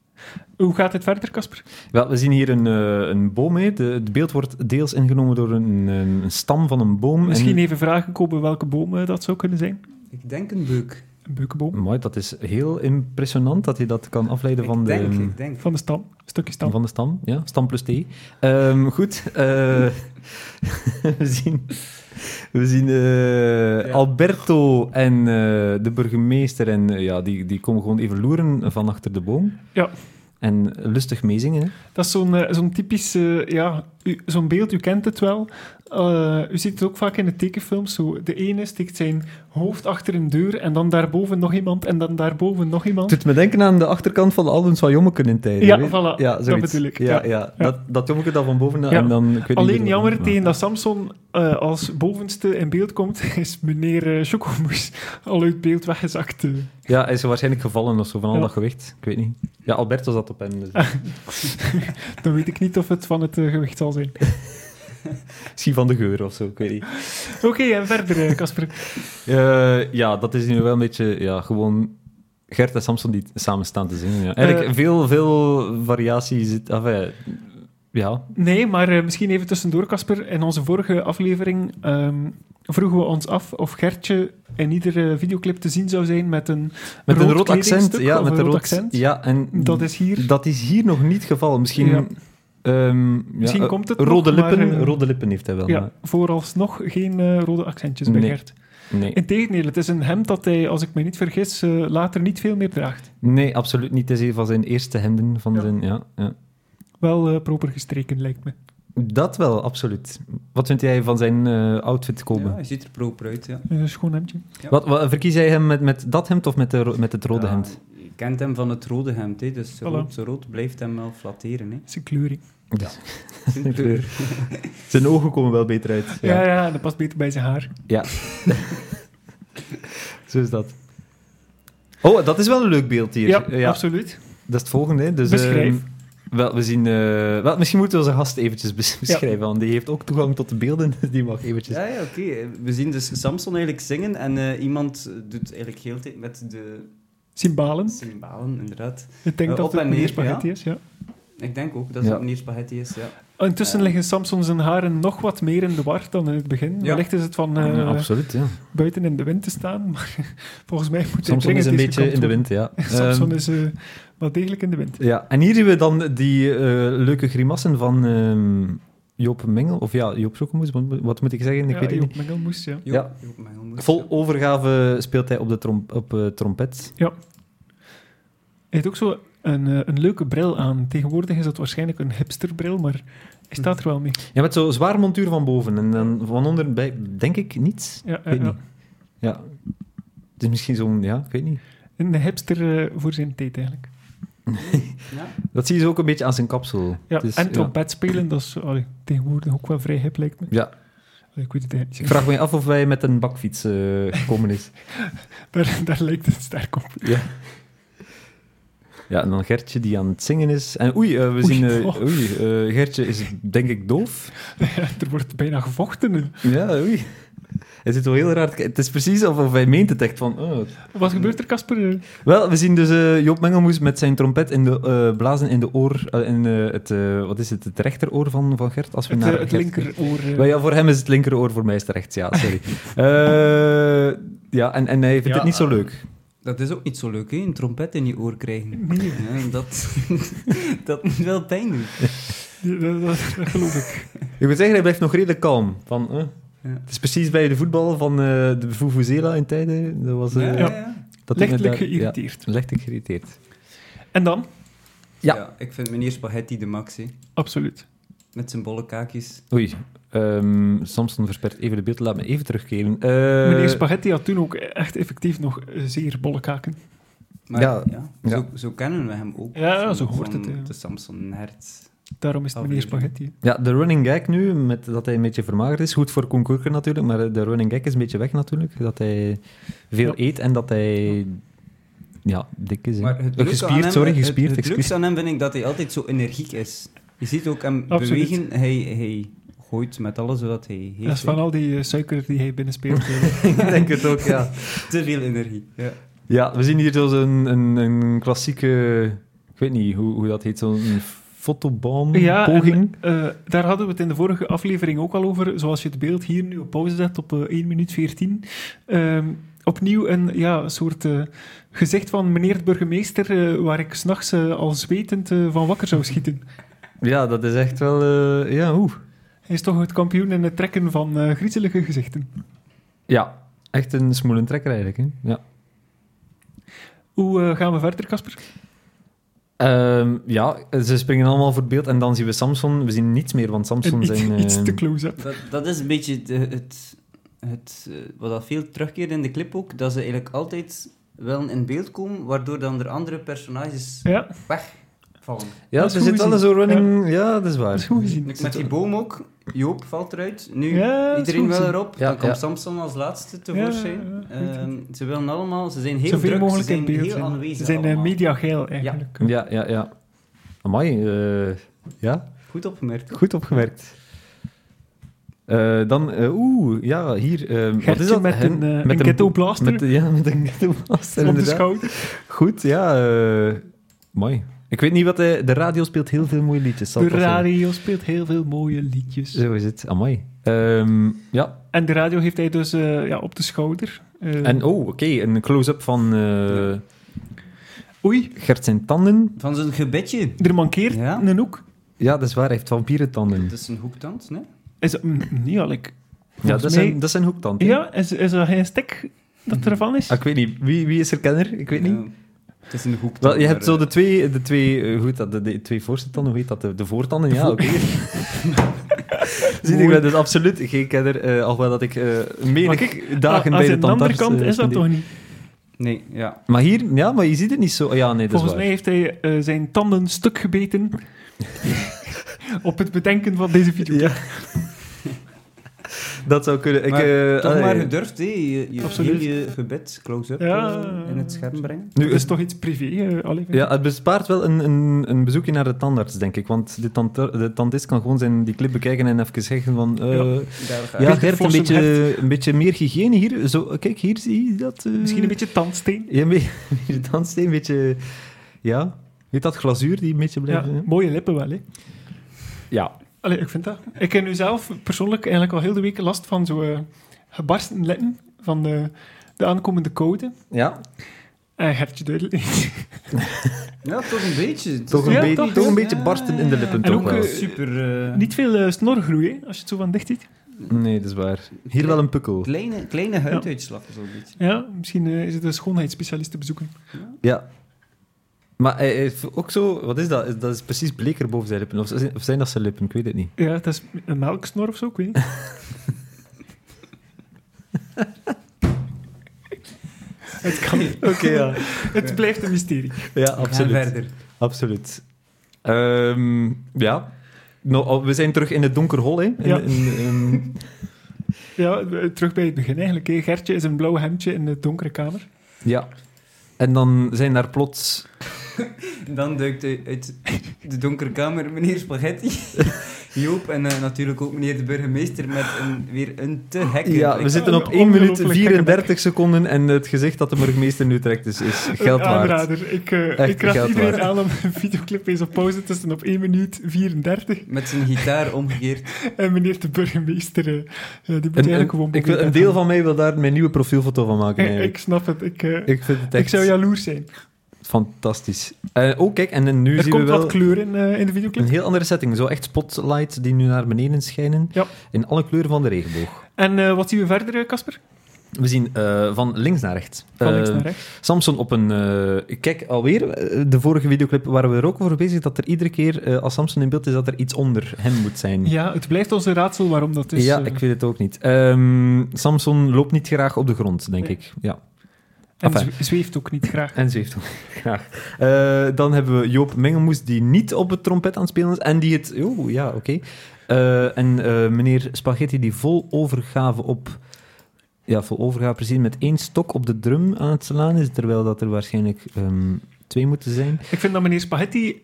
Speaker 2: Hoe gaat het verder, Casper?
Speaker 1: Wel, we zien hier een, eh, een boom, hè. De- het beeld wordt deels ingenomen door een, een stam van een boom.
Speaker 2: Misschien
Speaker 1: en,
Speaker 2: even vragen, Kobe, welke bomen dat zou kunnen zijn?
Speaker 3: Ik denk een beuk.
Speaker 2: Een beukenboom.
Speaker 1: Mooi, dat is heel impressionant dat je dat kan afleiden van
Speaker 3: ik
Speaker 1: de...
Speaker 3: denk, ik denk.
Speaker 2: Van de stam. Een stukje stam.
Speaker 1: Van de stam, ja. Stam plus T. Ehm, goed. eh, we zien, we zien eh,
Speaker 3: Ja.
Speaker 1: Alberto en eh, de burgemeester. En eh, ja, die, die komen gewoon even loeren van achter de boom.
Speaker 2: Ja.
Speaker 1: En lustig meezingen. hè.
Speaker 2: Dat is zo'n eh, zo'n typisch, eh, ja, u- zo'n beeld, u kent het wel. Eh, u ziet het ook vaak in de tekenfilms. Zo, de ene steekt zijn hoofd achter een deur en dan daarboven nog iemand en dan daarboven nog
Speaker 1: Het
Speaker 2: iemand.
Speaker 1: doet me denken aan de achterkant van de albums van Jommeken in tijden.
Speaker 2: Ja,
Speaker 1: weet-
Speaker 2: voilà, dat
Speaker 1: zoiets.
Speaker 2: bedoel ik,
Speaker 1: Ja,
Speaker 2: ja.
Speaker 1: ja, Dat, dat Jommeke dan van boven eh,
Speaker 2: Ja.
Speaker 1: en dan... Ik weet
Speaker 2: Alleen
Speaker 1: niet
Speaker 2: jammer
Speaker 1: die
Speaker 2: tegen dat Samson eh, als bovenste in beeld komt, is meneer eh, Chocomoes al uit beeld weggezakt. eh.
Speaker 1: Ja, hij is waarschijnlijk gevallen of zo, van al
Speaker 2: Ja.
Speaker 1: dat gewicht. Ik weet niet. Ja, Alberto zat op hem. Dus.
Speaker 2: Dan weet ik niet of het van het eh, gewicht zal zijn.
Speaker 1: Misschien van de geur of zo, ik weet niet.
Speaker 2: Oké, en verder, eh, Casper.
Speaker 1: Eh, ja, dat is nu wel een beetje ja, gewoon Gert en Samson die t- samen staan te zingen. Ja. Eigenlijk
Speaker 2: Eh.
Speaker 1: veel, veel variatie zit. Enfin, ja,
Speaker 2: Nee, maar eh, misschien even tussendoor, Casper. In onze vorige aflevering ehm, vroegen we ons af of Gertje in iedere videoclip te zien zou zijn met een
Speaker 1: met een
Speaker 2: Rood
Speaker 1: rood accent.
Speaker 2: kledingstuk
Speaker 1: Ja,
Speaker 2: of
Speaker 1: met
Speaker 2: een
Speaker 1: een
Speaker 2: rood
Speaker 1: rood
Speaker 2: accent?
Speaker 1: Ja, en
Speaker 2: Dat is hier.
Speaker 1: dat is hier nog niet het geval. Misschien,
Speaker 2: Ja.
Speaker 1: ehm, ja,
Speaker 2: Misschien
Speaker 1: eh,
Speaker 2: komt het
Speaker 1: rode,
Speaker 2: nog, maar,
Speaker 1: lippen,
Speaker 2: eh,
Speaker 1: rode lippen heeft hij wel.
Speaker 2: Ja,
Speaker 1: maar
Speaker 2: vooralsnog geen eh, rode accentjes bij
Speaker 1: Nee.
Speaker 2: Gert.
Speaker 1: nee.
Speaker 2: Integendeel, het is een hemd dat hij, als ik me niet vergis, eh, later niet veel meer draagt.
Speaker 1: nee, absoluut niet. Het is een van zijn eerste hemden. Van
Speaker 2: Ja.
Speaker 1: Zijn, ja, ja.
Speaker 2: Wel eh, proper gestreken, lijkt me.
Speaker 1: Dat wel, absoluut. Wat vind jij van zijn eh, outfit komen?
Speaker 3: Ja, hij ziet er proper uit, ja.
Speaker 2: Een schoon hemdje.
Speaker 3: ja.
Speaker 1: Wat, wat, verkies jij hem met, met dat hemd of met, de, ro- met het rode
Speaker 3: Ja,
Speaker 1: hemd?
Speaker 3: Je kent hem van het rode hemd, hè, dus zo
Speaker 2: Voilà.
Speaker 3: rood, zo rood blijft hem wel flatteren. Hè.
Speaker 2: Zijn kleuring.
Speaker 3: Zijn kleur.
Speaker 1: Zijn ogen komen wel beter uit.
Speaker 2: Ja, ja, dat past beter bij zijn haar.
Speaker 1: Zo is dat. Oh, dat is wel een leuk beeld hier.
Speaker 2: Ja,
Speaker 1: Eh, ja.
Speaker 2: absoluut.
Speaker 1: Dat is het volgende. hè. Dus,
Speaker 2: Beschrijf.
Speaker 1: ehm, wel, we zien, eh, wel, misschien moeten we onze gast eventjes bes- beschrijven, want die heeft ook toegang tot de beelden, dus die mag eventjes...
Speaker 3: Ja, ja oké. We zien dus Samson eigenlijk zingen en eh, iemand doet eigenlijk heel de tijd met de
Speaker 2: Cymbalen.
Speaker 3: cymbalen, inderdaad.
Speaker 2: Ik denk
Speaker 3: Eh,
Speaker 2: dat
Speaker 3: op
Speaker 2: het
Speaker 3: en
Speaker 2: meneer
Speaker 3: neer,
Speaker 2: Spaghetti is, ja.
Speaker 3: Ik denk ook dat het
Speaker 1: Ja.
Speaker 3: meneer Spaghetti is, ja.
Speaker 2: Oh, Intussen
Speaker 3: Eh.
Speaker 2: liggen Samson zijn haren nog wat meer in de war dan in het begin.
Speaker 3: Ja.
Speaker 2: Wellicht is het van eh,
Speaker 1: Ja, absoluut, ja.
Speaker 2: buiten in de wind te staan, maar volgens mij moet hij
Speaker 1: Samson
Speaker 2: dringend
Speaker 1: is een
Speaker 2: deze
Speaker 1: beetje
Speaker 2: kant
Speaker 1: in de
Speaker 2: op.
Speaker 1: wind, ja.
Speaker 2: Samson
Speaker 1: Ehm,
Speaker 2: is eh, wel degelijk in de wind.
Speaker 1: ja. En hier zien we dan die eh, leuke grimassen van ehm, Joop Mengel, of ja, Joop Zoekemoes, wat, moet- wat moet ik zeggen? Ik
Speaker 2: ja,
Speaker 1: weet het
Speaker 2: Joop
Speaker 1: niet.
Speaker 2: Mengelmoes, ja.
Speaker 3: Joop-
Speaker 1: Ja.
Speaker 3: Joop
Speaker 2: Dus,
Speaker 3: Mengelmoes,
Speaker 1: Vol
Speaker 3: ja.
Speaker 1: overgave speelt hij op de trom- op, eh, trompet.
Speaker 2: Hij heeft ook zo een, eh, een leuke bril aan. Tegenwoordig is dat waarschijnlijk een hipsterbril, maar hij staat er wel mee.
Speaker 1: Ja, met zo'n zwaar montuur van boven en dan van onder bij, denk ik niets.
Speaker 2: Ja,
Speaker 1: Ik
Speaker 2: ja,
Speaker 1: weet
Speaker 2: ja.
Speaker 1: niet. Ja. Het is misschien zo'n, ja, ik weet niet.
Speaker 2: Een hipster eh, voor zijn tijd eigenlijk.
Speaker 3: Ja.
Speaker 1: Dat zie je ook een beetje aan zijn kapsel.
Speaker 2: Ja,
Speaker 1: Het is-
Speaker 2: en trompet spelen, dat is allee, tegenwoordig ook wel vrij hip, lijkt me.
Speaker 1: Ja.
Speaker 2: Allee, ik weet het eigenlijk
Speaker 1: Ik
Speaker 2: niet.
Speaker 1: vraag me af of hij met een bakfiets eh, gekomen is.
Speaker 2: Daar, daar lijkt het sterk op.
Speaker 1: ja. Ja, en dan Gertje die aan het zingen is. En oei, eh, we zien... eh,
Speaker 2: oh.
Speaker 1: oei, eh, Gertje is denk ik doof.
Speaker 2: Ja, er wordt bijna gevochten.
Speaker 1: Ja, oei. Hij zit wel heel raar. te kijken. Het is precies of, of hij meent het echt van... oh.
Speaker 2: Wat gebeurt er, Casper? Eh,
Speaker 1: Wel, we zien dus eh, Joop Mengelmoes met zijn trompet in de eh, blazen in de oor... eh, in eh, het, eh, wat is het? Het rechteroor van, van Gert? Als we
Speaker 2: Het,
Speaker 1: naar
Speaker 2: eh, het
Speaker 1: Gert-
Speaker 2: linkeroor. eh,
Speaker 1: Wel ja, voor hem is het linkeroor, voor mij is het rechts. Ja, sorry. Eh, ja, en, en hij vindt
Speaker 3: Ja,
Speaker 1: het niet zo
Speaker 3: eh,
Speaker 1: leuk.
Speaker 3: Dat is ook niet zo leuk, hè? Een trompet in je oor krijgen.
Speaker 2: Nee,
Speaker 3: Ja, dat, dat moet wel pijn doen.
Speaker 2: dat, dat- dat geloof ik.
Speaker 1: Ik moet zeggen, hij blijft nog redelijk kalm. Van, eh.
Speaker 3: Ja.
Speaker 1: Het is precies bij de voetbal van eh, de Vuvuzela in tijden. Dat was, eh,
Speaker 3: Ja, ja, ja.
Speaker 1: dat hij met
Speaker 2: Lichtelijk
Speaker 1: dat-
Speaker 2: geïrriteerd.
Speaker 1: Ja, lichtelijk geïrriteerd.
Speaker 2: En dan?
Speaker 1: Ja.
Speaker 3: ik vind meneer Spaghetti de max, hè.
Speaker 2: Absoluut.
Speaker 3: Met zijn bolle kaakjes.
Speaker 1: Oei. ehm, Samson verspert even de beeld. Laat me even terugkeren. Eh,
Speaker 2: Meneer Spaghetti had toen ook echt effectief nog eh, zeer bolle kaken.
Speaker 3: Maar
Speaker 1: Ja,
Speaker 3: ja,
Speaker 1: ja.
Speaker 3: Zo, zo kennen we hem ook.
Speaker 2: Ja, zo hoort
Speaker 3: van
Speaker 2: het, ja.
Speaker 3: De Samson Hert.
Speaker 2: Daarom is het
Speaker 1: Oh,
Speaker 2: meneer
Speaker 3: Aflevering.
Speaker 2: Spaghetti.
Speaker 1: Ja, de running gag nu, met dat hij een beetje vermagerd is. Goed voor Koen natuurlijk, maar eh, de running gag is een beetje weg natuurlijk. Dat hij veel
Speaker 2: Ja.
Speaker 1: eet en dat hij... Ja, dik is. hè.
Speaker 3: Maar het
Speaker 1: Eh,
Speaker 3: leuke aan
Speaker 1: gespierd,
Speaker 3: hem-
Speaker 1: sorry,
Speaker 3: het-
Speaker 1: gespierd.
Speaker 3: Het, het
Speaker 1: excuus.
Speaker 3: leukste aan hem vind ik dat hij altijd zo energiek is. Je ziet ook hem
Speaker 2: Absoluut.
Speaker 3: bewegen. Hij, hij gooit met alles wat hij heeft.
Speaker 2: Dat is van
Speaker 3: hè.
Speaker 2: al die eh, suiker die hij binnenspeelt. eh.
Speaker 1: Ik denk het ook, ja.
Speaker 3: Te veel energie. Ja.
Speaker 1: Ja, we zien hier zo'n een, een, een klassieke... Ik weet niet hoe, hoe dat heet, zo'n
Speaker 2: ja, en,
Speaker 1: fotobom-poging.
Speaker 2: eh, daar hadden we het in de vorige aflevering ook al over. Zoals je het beeld hier nu op pauze zet op eh, 1 minuut 14. ehm, opnieuw een ja, soort eh, gezicht van meneer de burgemeester, eh, waar ik s'nachts eh al zwetend eh, van wakker zou schieten.
Speaker 1: Ja, dat is echt wel... eh, ja, oeh.
Speaker 2: Hij is toch het kampioen in het trekken van eh griezelige gezichten.
Speaker 1: Ja, echt een smoelend trekker eigenlijk. Hè? Ja.
Speaker 2: Hoe eh, gaan we verder, Casper?
Speaker 1: Ehm, ja, ze springen allemaal voor het beeld en dan zien we Samson. We zien niets meer, want Samson
Speaker 2: Een iets,
Speaker 1: zijn...
Speaker 2: iets te
Speaker 1: ehm,
Speaker 2: close-up.
Speaker 3: Dat, dat is een beetje de- het, het, eh, wat dat veel terugkeert in de clip ook, dat ze eigenlijk altijd wel in beeld komen, waardoor dan er andere personages
Speaker 2: Ja,
Speaker 3: vallen.
Speaker 1: Ja,
Speaker 2: Dat is
Speaker 1: er
Speaker 2: goed
Speaker 1: zit wel een
Speaker 2: gezien.
Speaker 1: zo'n running... Ja. dat is
Speaker 2: dat
Speaker 1: waar.
Speaker 2: is goed gezien.
Speaker 3: Met die boom ook, Joop valt eruit, nu
Speaker 2: Ja, dat is
Speaker 3: iedereen
Speaker 2: goed
Speaker 3: wil
Speaker 2: zo.
Speaker 3: erop,
Speaker 1: Ja,
Speaker 3: dan komt
Speaker 1: ja.
Speaker 3: Samson als laatste tevoorschijn.
Speaker 2: Ja, ja, goed,
Speaker 3: Ehm, ze willen allemaal, ze zijn heel
Speaker 2: Zoveel
Speaker 3: druk,
Speaker 2: mogelijk
Speaker 3: ze
Speaker 2: in
Speaker 3: zijn
Speaker 2: beeld.
Speaker 3: heel
Speaker 2: zijn.
Speaker 3: aanwezig
Speaker 2: Ze zijn eh,
Speaker 3: allemaal.
Speaker 2: mediageil eigenlijk.
Speaker 1: Ja, ja, ja. Amai, eh, ja,
Speaker 3: Goed opgemerkt.
Speaker 1: goed opgemerkt. Eh, dan, eh, oeh, ja, hier... eh, wat
Speaker 2: Gertje
Speaker 1: is dat?
Speaker 2: met
Speaker 1: Hen-
Speaker 2: een, eh, een ghetto blaster.
Speaker 1: Met, ja, met een ghetto blaster,
Speaker 2: Op de
Speaker 1: inderdaad.
Speaker 2: schouder.
Speaker 1: Goed, ja. eh, mooi. Ik weet niet wat... hij- de radio speelt heel veel mooie liedjes. zal
Speaker 2: De
Speaker 1: ik wel zeggen.
Speaker 2: radio speelt heel veel mooie liedjes.
Speaker 1: Zo is het. Amai. Ehm, ja.
Speaker 2: En de radio heeft hij dus eh, ja, op de schouder. Eh,
Speaker 1: En, oh, oké. een close-up van eh
Speaker 2: Oei,
Speaker 1: Gert zijn tanden.
Speaker 3: Van zijn gebedje.
Speaker 2: er mankeert
Speaker 3: Ja.
Speaker 2: een hoek.
Speaker 1: Ja, dat is waar. Hij heeft vampierentanden.
Speaker 3: Dat is een hoektand, nee?
Speaker 2: Is dat, mm, niet al ik.
Speaker 1: Ja,
Speaker 2: volgens
Speaker 1: dat
Speaker 2: mij-
Speaker 1: zijn, dat zijn hoektanden.
Speaker 2: Ja, is, is er geen stek dat ervan is?
Speaker 1: Ah, ik weet niet. Wie, wie is er kenner? Ik weet niet.
Speaker 3: Ja, Ehm, het is een hoektand.
Speaker 1: Wel, je hebt
Speaker 3: maar,
Speaker 1: zo de
Speaker 3: eh,
Speaker 1: twee, de twee, eh, hoe heet dat, de, de twee voorste tanden, hoe heet dat, de, de voortanden, ja, oké. Zie, ik ben dus absoluut geen kenner, eh alhoewel dat ik eh menig dagen bij
Speaker 2: Ah, als
Speaker 1: de
Speaker 2: aan de andere
Speaker 1: tandarts...
Speaker 2: kant
Speaker 1: eh,
Speaker 2: is dat
Speaker 1: spendeer.
Speaker 2: toch niet?
Speaker 3: Nee, ja.
Speaker 1: Maar hier, ja, maar je ziet het niet zo... Ah, Ja, nee, dat
Speaker 2: Volgens
Speaker 1: is
Speaker 2: mij
Speaker 1: waar.
Speaker 2: heeft hij eh, zijn tanden stuk gebeten op het bedenken van deze video.
Speaker 1: Ja. dat zou kunnen. Ik,
Speaker 3: Maar
Speaker 1: eh,
Speaker 3: Toch
Speaker 1: allee.
Speaker 3: maar gedurfd, hé. Je, je
Speaker 2: Absoluut.
Speaker 3: heel je gebed close-up
Speaker 2: Ja.
Speaker 3: eh, in het scherm brengen.
Speaker 1: Nu,
Speaker 2: Nu, dat is
Speaker 1: het,
Speaker 2: toch iets privé? eh, alleen
Speaker 1: ja, het bespaart wel een, een, een bezoekje naar de tandarts, denk ik. Want de, tant, de tandist kan gewoon zijn, die clip bekijken en even zeggen van... eh,
Speaker 2: Ja.
Speaker 3: Daar ga
Speaker 1: ja,
Speaker 3: ik.
Speaker 1: Gert, een
Speaker 2: Vossen
Speaker 1: beetje, een beetje meer hygiëne hier. Zo, kijk, hier zie je dat... eh,
Speaker 2: Misschien een beetje tandsteen.
Speaker 1: Ja, een beetje een tandsteen, een beetje... Ja, weet dat glazuur die een beetje
Speaker 2: Ja,
Speaker 1: blijft... hè?
Speaker 2: mooie lippen wel, hè?
Speaker 1: Ja.
Speaker 2: Allee, ik vind dat. Ik heb nu zelf persoonlijk eigenlijk al heel de week last van zo'n gebarsten lippen van de, de aankomende code.
Speaker 1: Ja,
Speaker 2: En Gertje duidelijk niet.
Speaker 3: Ja, toch een beetje. Het is
Speaker 1: toch een,
Speaker 2: Ja,
Speaker 1: beetje,
Speaker 2: toch,
Speaker 1: toch een
Speaker 2: ja.
Speaker 1: beetje barsten in de lippen,
Speaker 2: En
Speaker 1: toch
Speaker 2: ook,
Speaker 1: wel.
Speaker 2: eh,
Speaker 3: super eh,
Speaker 2: Niet veel eh, snorgroei, hè, als je het zo van dicht ziet.
Speaker 1: Nee, dat is waar. Hier wel een pukkel.
Speaker 3: kleine, kleine huiduitslag, zo'n beetje.
Speaker 2: Ja, misschien eh, is het een schoonheidsspecialist te bezoeken.
Speaker 1: Ja. Maar hij heeft ook zo... Wat is dat? Is- Dat is precies bleker boven zijn lippen. Of zijn, of zijn dat zijn lippen? Ik weet het niet.
Speaker 2: Ja, dat is een melksnor of zo, ik weet niet. het kan niet.
Speaker 1: Oké, ja.
Speaker 2: Het blijft een mysterie.
Speaker 1: Ja,
Speaker 3: We gaan
Speaker 1: absoluut.
Speaker 3: verder.
Speaker 1: Absoluut. Ehm, ja. Nou, oh, we zijn terug in het donker hol, hè. In-
Speaker 2: Ja.
Speaker 1: in- in-
Speaker 2: Ja, eh, terug bij het begin eigenlijk. hè. Gertje is een blauw hemdje in de donkere kamer.
Speaker 1: ja. En dan zijn daar plots...
Speaker 3: Dan duikt hij uit de donkere kamer meneer Spaghetti, Joop en eh, natuurlijk ook meneer de burgemeester met een, weer een te gekke
Speaker 1: Ja,
Speaker 3: blik.
Speaker 1: we zitten op
Speaker 2: Een
Speaker 1: 1 minuut
Speaker 2: ongelooflijk gekke
Speaker 1: 34 seconden en het gezicht dat de burgemeester nu trekt is, is geld
Speaker 2: Een
Speaker 1: waard.
Speaker 2: aanrader. Ik, eh,
Speaker 1: Echt
Speaker 2: ik raad
Speaker 1: geld
Speaker 2: iedereen
Speaker 1: waard.
Speaker 2: aan om een videoclip eens op pauze te zetten op 1 minuut 34.
Speaker 3: Met zijn gitaar omgekeerd.
Speaker 2: En meneer de burgemeester, eh, ja, die moet
Speaker 1: Een,
Speaker 2: eigenlijk
Speaker 1: een-
Speaker 2: gewoon...
Speaker 1: ik wil, een deel van mij wil daar mijn nieuwe profielfoto van maken.
Speaker 2: Ik, ik
Speaker 1: eigenlijk.
Speaker 2: snap het. Ik, eh,
Speaker 1: Ik vind het echt
Speaker 2: ik zou jaloers zijn.
Speaker 1: fantastisch. Eh, oh, kijk, en nu
Speaker 2: Er
Speaker 1: zien we
Speaker 2: komt wat
Speaker 1: wel
Speaker 2: kleur in, eh, in de videoclip.
Speaker 1: een heel andere setting. Zo echt spotlights die nu naar beneden schijnen.
Speaker 2: Ja.
Speaker 1: In alle kleuren van de regenboog.
Speaker 2: En eh, wat zien we verder, eh, Casper?
Speaker 1: We zien eh, van links naar rechts.
Speaker 2: Van links
Speaker 1: Eh,
Speaker 2: naar rechts.
Speaker 1: Samson op een... eh, kijk, alweer, eh, de vorige videoclip waren we er ook over bezig, dat er iedere keer, eh, als Samson in beeld is, dat er iets onder hem moet zijn.
Speaker 2: Ja, het blijft ons een raadsel waarom dat is.
Speaker 1: ja,
Speaker 2: eh,
Speaker 1: ik weet het ook niet. Ehm, Samson loopt niet graag op de grond, denk
Speaker 2: Nee.
Speaker 1: ik. Ja.
Speaker 2: en
Speaker 1: enfin.
Speaker 2: zwe- zweeft ook niet graag.
Speaker 1: En zweeft ook graag. Eh, dan hebben we Joop Mengelmoes, die niet op het trompet aan het spelen is. En die het... Oh, ja, oké. Eh, en eh, meneer Spaghetti, die vol overgave op... Ja, vol overgave precies, met één stok op de drum aan het slaan is. Terwijl dat er waarschijnlijk ehm, twee moeten zijn.
Speaker 2: Ik vind dat meneer Spaghetti...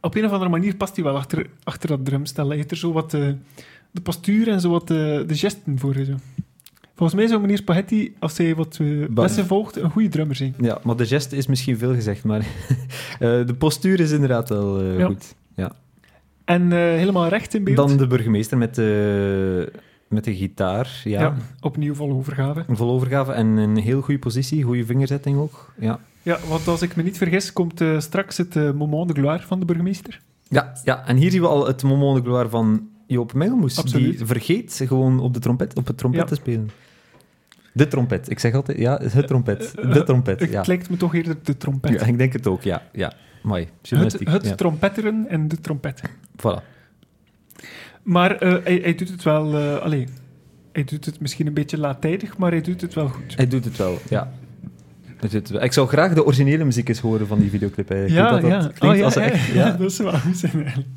Speaker 2: Op een of andere manier past hij wel achter, achter dat drumstel. Hij heeft er zo wat eh, de postuur en zo wat eh, de gesten voor. eh, Zo. Volgens mij zou meneer Spaghetti, als hij wat eh,
Speaker 1: Bam.
Speaker 2: lessen volgt, een goede drummer zijn.
Speaker 1: Ja, maar de geste is misschien veel gezegd, maar eh, de postuur is inderdaad wel eh,
Speaker 2: Ja.
Speaker 1: goed.
Speaker 2: En eh, helemaal recht in beeld.
Speaker 1: Dan de burgemeester met de eh, met de gitaar, ja.
Speaker 2: Ja. opnieuw volle overgave.
Speaker 1: Een vol overgave en een heel goede positie, goede vingerzetting ook. Ja,
Speaker 2: Ja, want als ik me niet vergis, komt eh, straks het eh, moment de gloire van de burgemeester.
Speaker 1: ja, ja. en hier zien we al het moment de gloire van Joop Mengelmoes.
Speaker 2: Absoluut.
Speaker 1: Die vergeet gewoon op de trompet, op het trompet
Speaker 2: Ja.
Speaker 1: te spelen. De trompet, ik zeg altijd, ja, het trompet,
Speaker 2: eh,
Speaker 1: de trompet,
Speaker 2: Het
Speaker 1: ja.
Speaker 2: lijkt me toch eerder de trompet.
Speaker 1: ja. Ik denk het ook, ja, ja. Mooi,
Speaker 2: het
Speaker 1: journalistiek.
Speaker 2: het
Speaker 1: ja.
Speaker 2: trompetteren en de trompet.
Speaker 1: Voilà.
Speaker 2: Maar eh, hij, hij doet het wel... eh, allee, hij doet het misschien een beetje laattijdig, maar hij doet het wel goed.
Speaker 1: Hij doet het wel, ja. Hij doet het wel. Ik zou graag de originele muziek eens horen van die videoclip. Eigenlijk.
Speaker 2: ja,
Speaker 1: Hoe dat,
Speaker 2: ja.
Speaker 1: dat klinkt
Speaker 2: Oh, ja,
Speaker 1: als ze
Speaker 2: ja,
Speaker 1: echt,
Speaker 2: ja,
Speaker 1: ja,
Speaker 2: dat is wel goed zijn eigenlijk.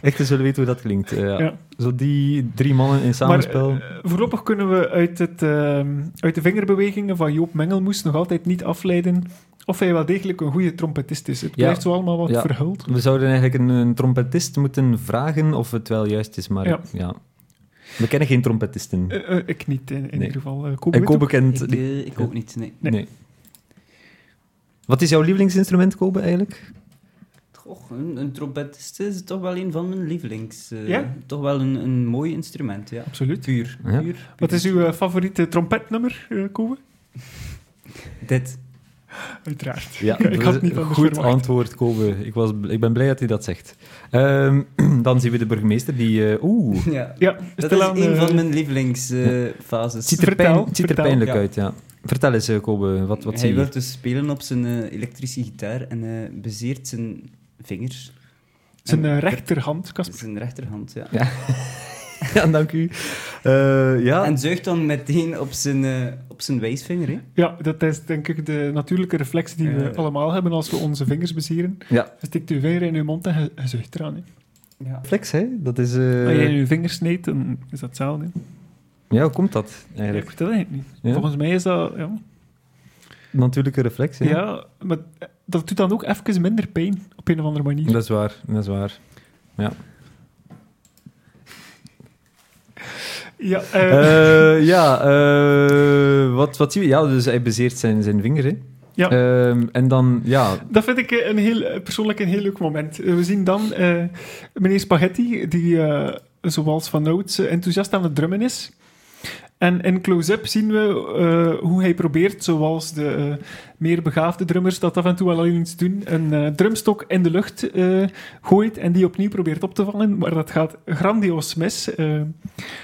Speaker 1: echt eens willen weten hoe dat klinkt. eh, ja.
Speaker 2: Ja.
Speaker 1: Zo die drie mannen in samenspel.
Speaker 2: Maar eh, voorlopig kunnen we uit, het, ehm, uit de vingerbewegingen van Joop Mengelmoes nog altijd niet afleiden of hij wel degelijk een goede trompetist is. Het
Speaker 1: Ja.
Speaker 2: blijft zo allemaal wat
Speaker 1: Ja.
Speaker 2: verhuld.
Speaker 1: We zouden eigenlijk een, een trompetist moeten vragen of het wel juist is, maar ja.
Speaker 2: Ja.
Speaker 1: We kennen geen trompetisten.
Speaker 2: Eh, eh, ik niet, in, in
Speaker 1: Nee.
Speaker 2: ieder geval. Eh, Kobe
Speaker 1: en
Speaker 2: weet
Speaker 1: Kobe
Speaker 2: ook-
Speaker 1: kent...
Speaker 3: Ik,
Speaker 1: die-
Speaker 3: eh, ik ook niet, nee.
Speaker 1: nee. Wat is jouw lievelingsinstrument, Kobe, eigenlijk?
Speaker 3: Toch, een, een trompetist is toch wel een van mijn lievelings. eh,
Speaker 2: Ja?
Speaker 3: Toch wel een, een mooi instrument, ja.
Speaker 2: Absoluut.
Speaker 3: Puur.
Speaker 1: Ja.
Speaker 3: puur, puur.
Speaker 2: Wat is uw eh, favoriete trompetnummer, eh Kobe?
Speaker 3: Dit.
Speaker 2: Uiteraard.
Speaker 1: Ja,
Speaker 2: ik had het niet anders
Speaker 1: goed
Speaker 2: verwacht.
Speaker 1: antwoord, Kobe. Ik, was, ik ben blij dat hij dat zegt. Ehm, dan zien we de burgemeester die... eh, Oeh,
Speaker 3: Ja.
Speaker 2: Ja,
Speaker 3: Dat
Speaker 2: stilaan,
Speaker 3: is een
Speaker 2: eh,
Speaker 3: van mijn lievelingsfases.
Speaker 1: Het ziet er,
Speaker 2: Vertel,
Speaker 1: pijn, het ziet er
Speaker 2: vertel.
Speaker 1: pijnlijk
Speaker 3: Ja.
Speaker 1: uit, ja. Vertel eens, eh, Kobe, wat, wat zie
Speaker 3: Hij
Speaker 1: je?
Speaker 3: wil dus spelen op zijn eh, elektrische gitaar en eh, bezeert zijn vingers.
Speaker 2: Zijn eh,
Speaker 3: En-
Speaker 2: rechterhand, Casper.
Speaker 3: Zijn rechterhand, ja.
Speaker 1: Ja, dank u. Eh, ja.
Speaker 3: En zuigt dan meteen op zijn, eh, op zijn wijsvinger, hè.
Speaker 2: Ja, dat is denk ik de natuurlijke reflex die we
Speaker 3: Eh.
Speaker 2: allemaal hebben als we onze vingers bezieren.
Speaker 1: ja.
Speaker 2: Je stikt uw vinger in uw mond en je- je zuigt eraan. Hè.
Speaker 3: Ja.
Speaker 1: Flex, hè? Dat is... eh,
Speaker 2: Als je in uw vingers sneedt, dan is dat hetzelfde. hè.
Speaker 1: Ja, hoe komt dat
Speaker 2: Ja, ik
Speaker 1: eigenlijk?
Speaker 2: weet dat eigenlijk niet.
Speaker 1: Ja?
Speaker 2: Volgens mij is dat... Ja,
Speaker 1: Natuurlijke reflex, hè?
Speaker 2: ja, maar dat doet dan ook even minder pijn, op een of andere manier.
Speaker 1: Dat is waar, dat is waar.
Speaker 2: Ja, eh,
Speaker 1: Eh, ja, eh, wat, wat zie je? Ja, dus hij bezeert zijn, zijn vinger, hè?
Speaker 2: Ja.
Speaker 1: Ehm, en dan, ja...
Speaker 2: dat vind ik eh, een heel, eh, persoonlijk een heel leuk moment. Eh, We zien dan eh, meneer Spaghetti, die eh, zoals van ouds eh, enthousiast aan het drummen is. En in close-up zien we eh, hoe hij probeert, zoals de eh, meer begaafde drummers dat af en toe wel al eens doen, een eh, drumstok in de lucht eh, gooit en die opnieuw probeert op te vangen. Maar dat gaat grandioos mis. eh.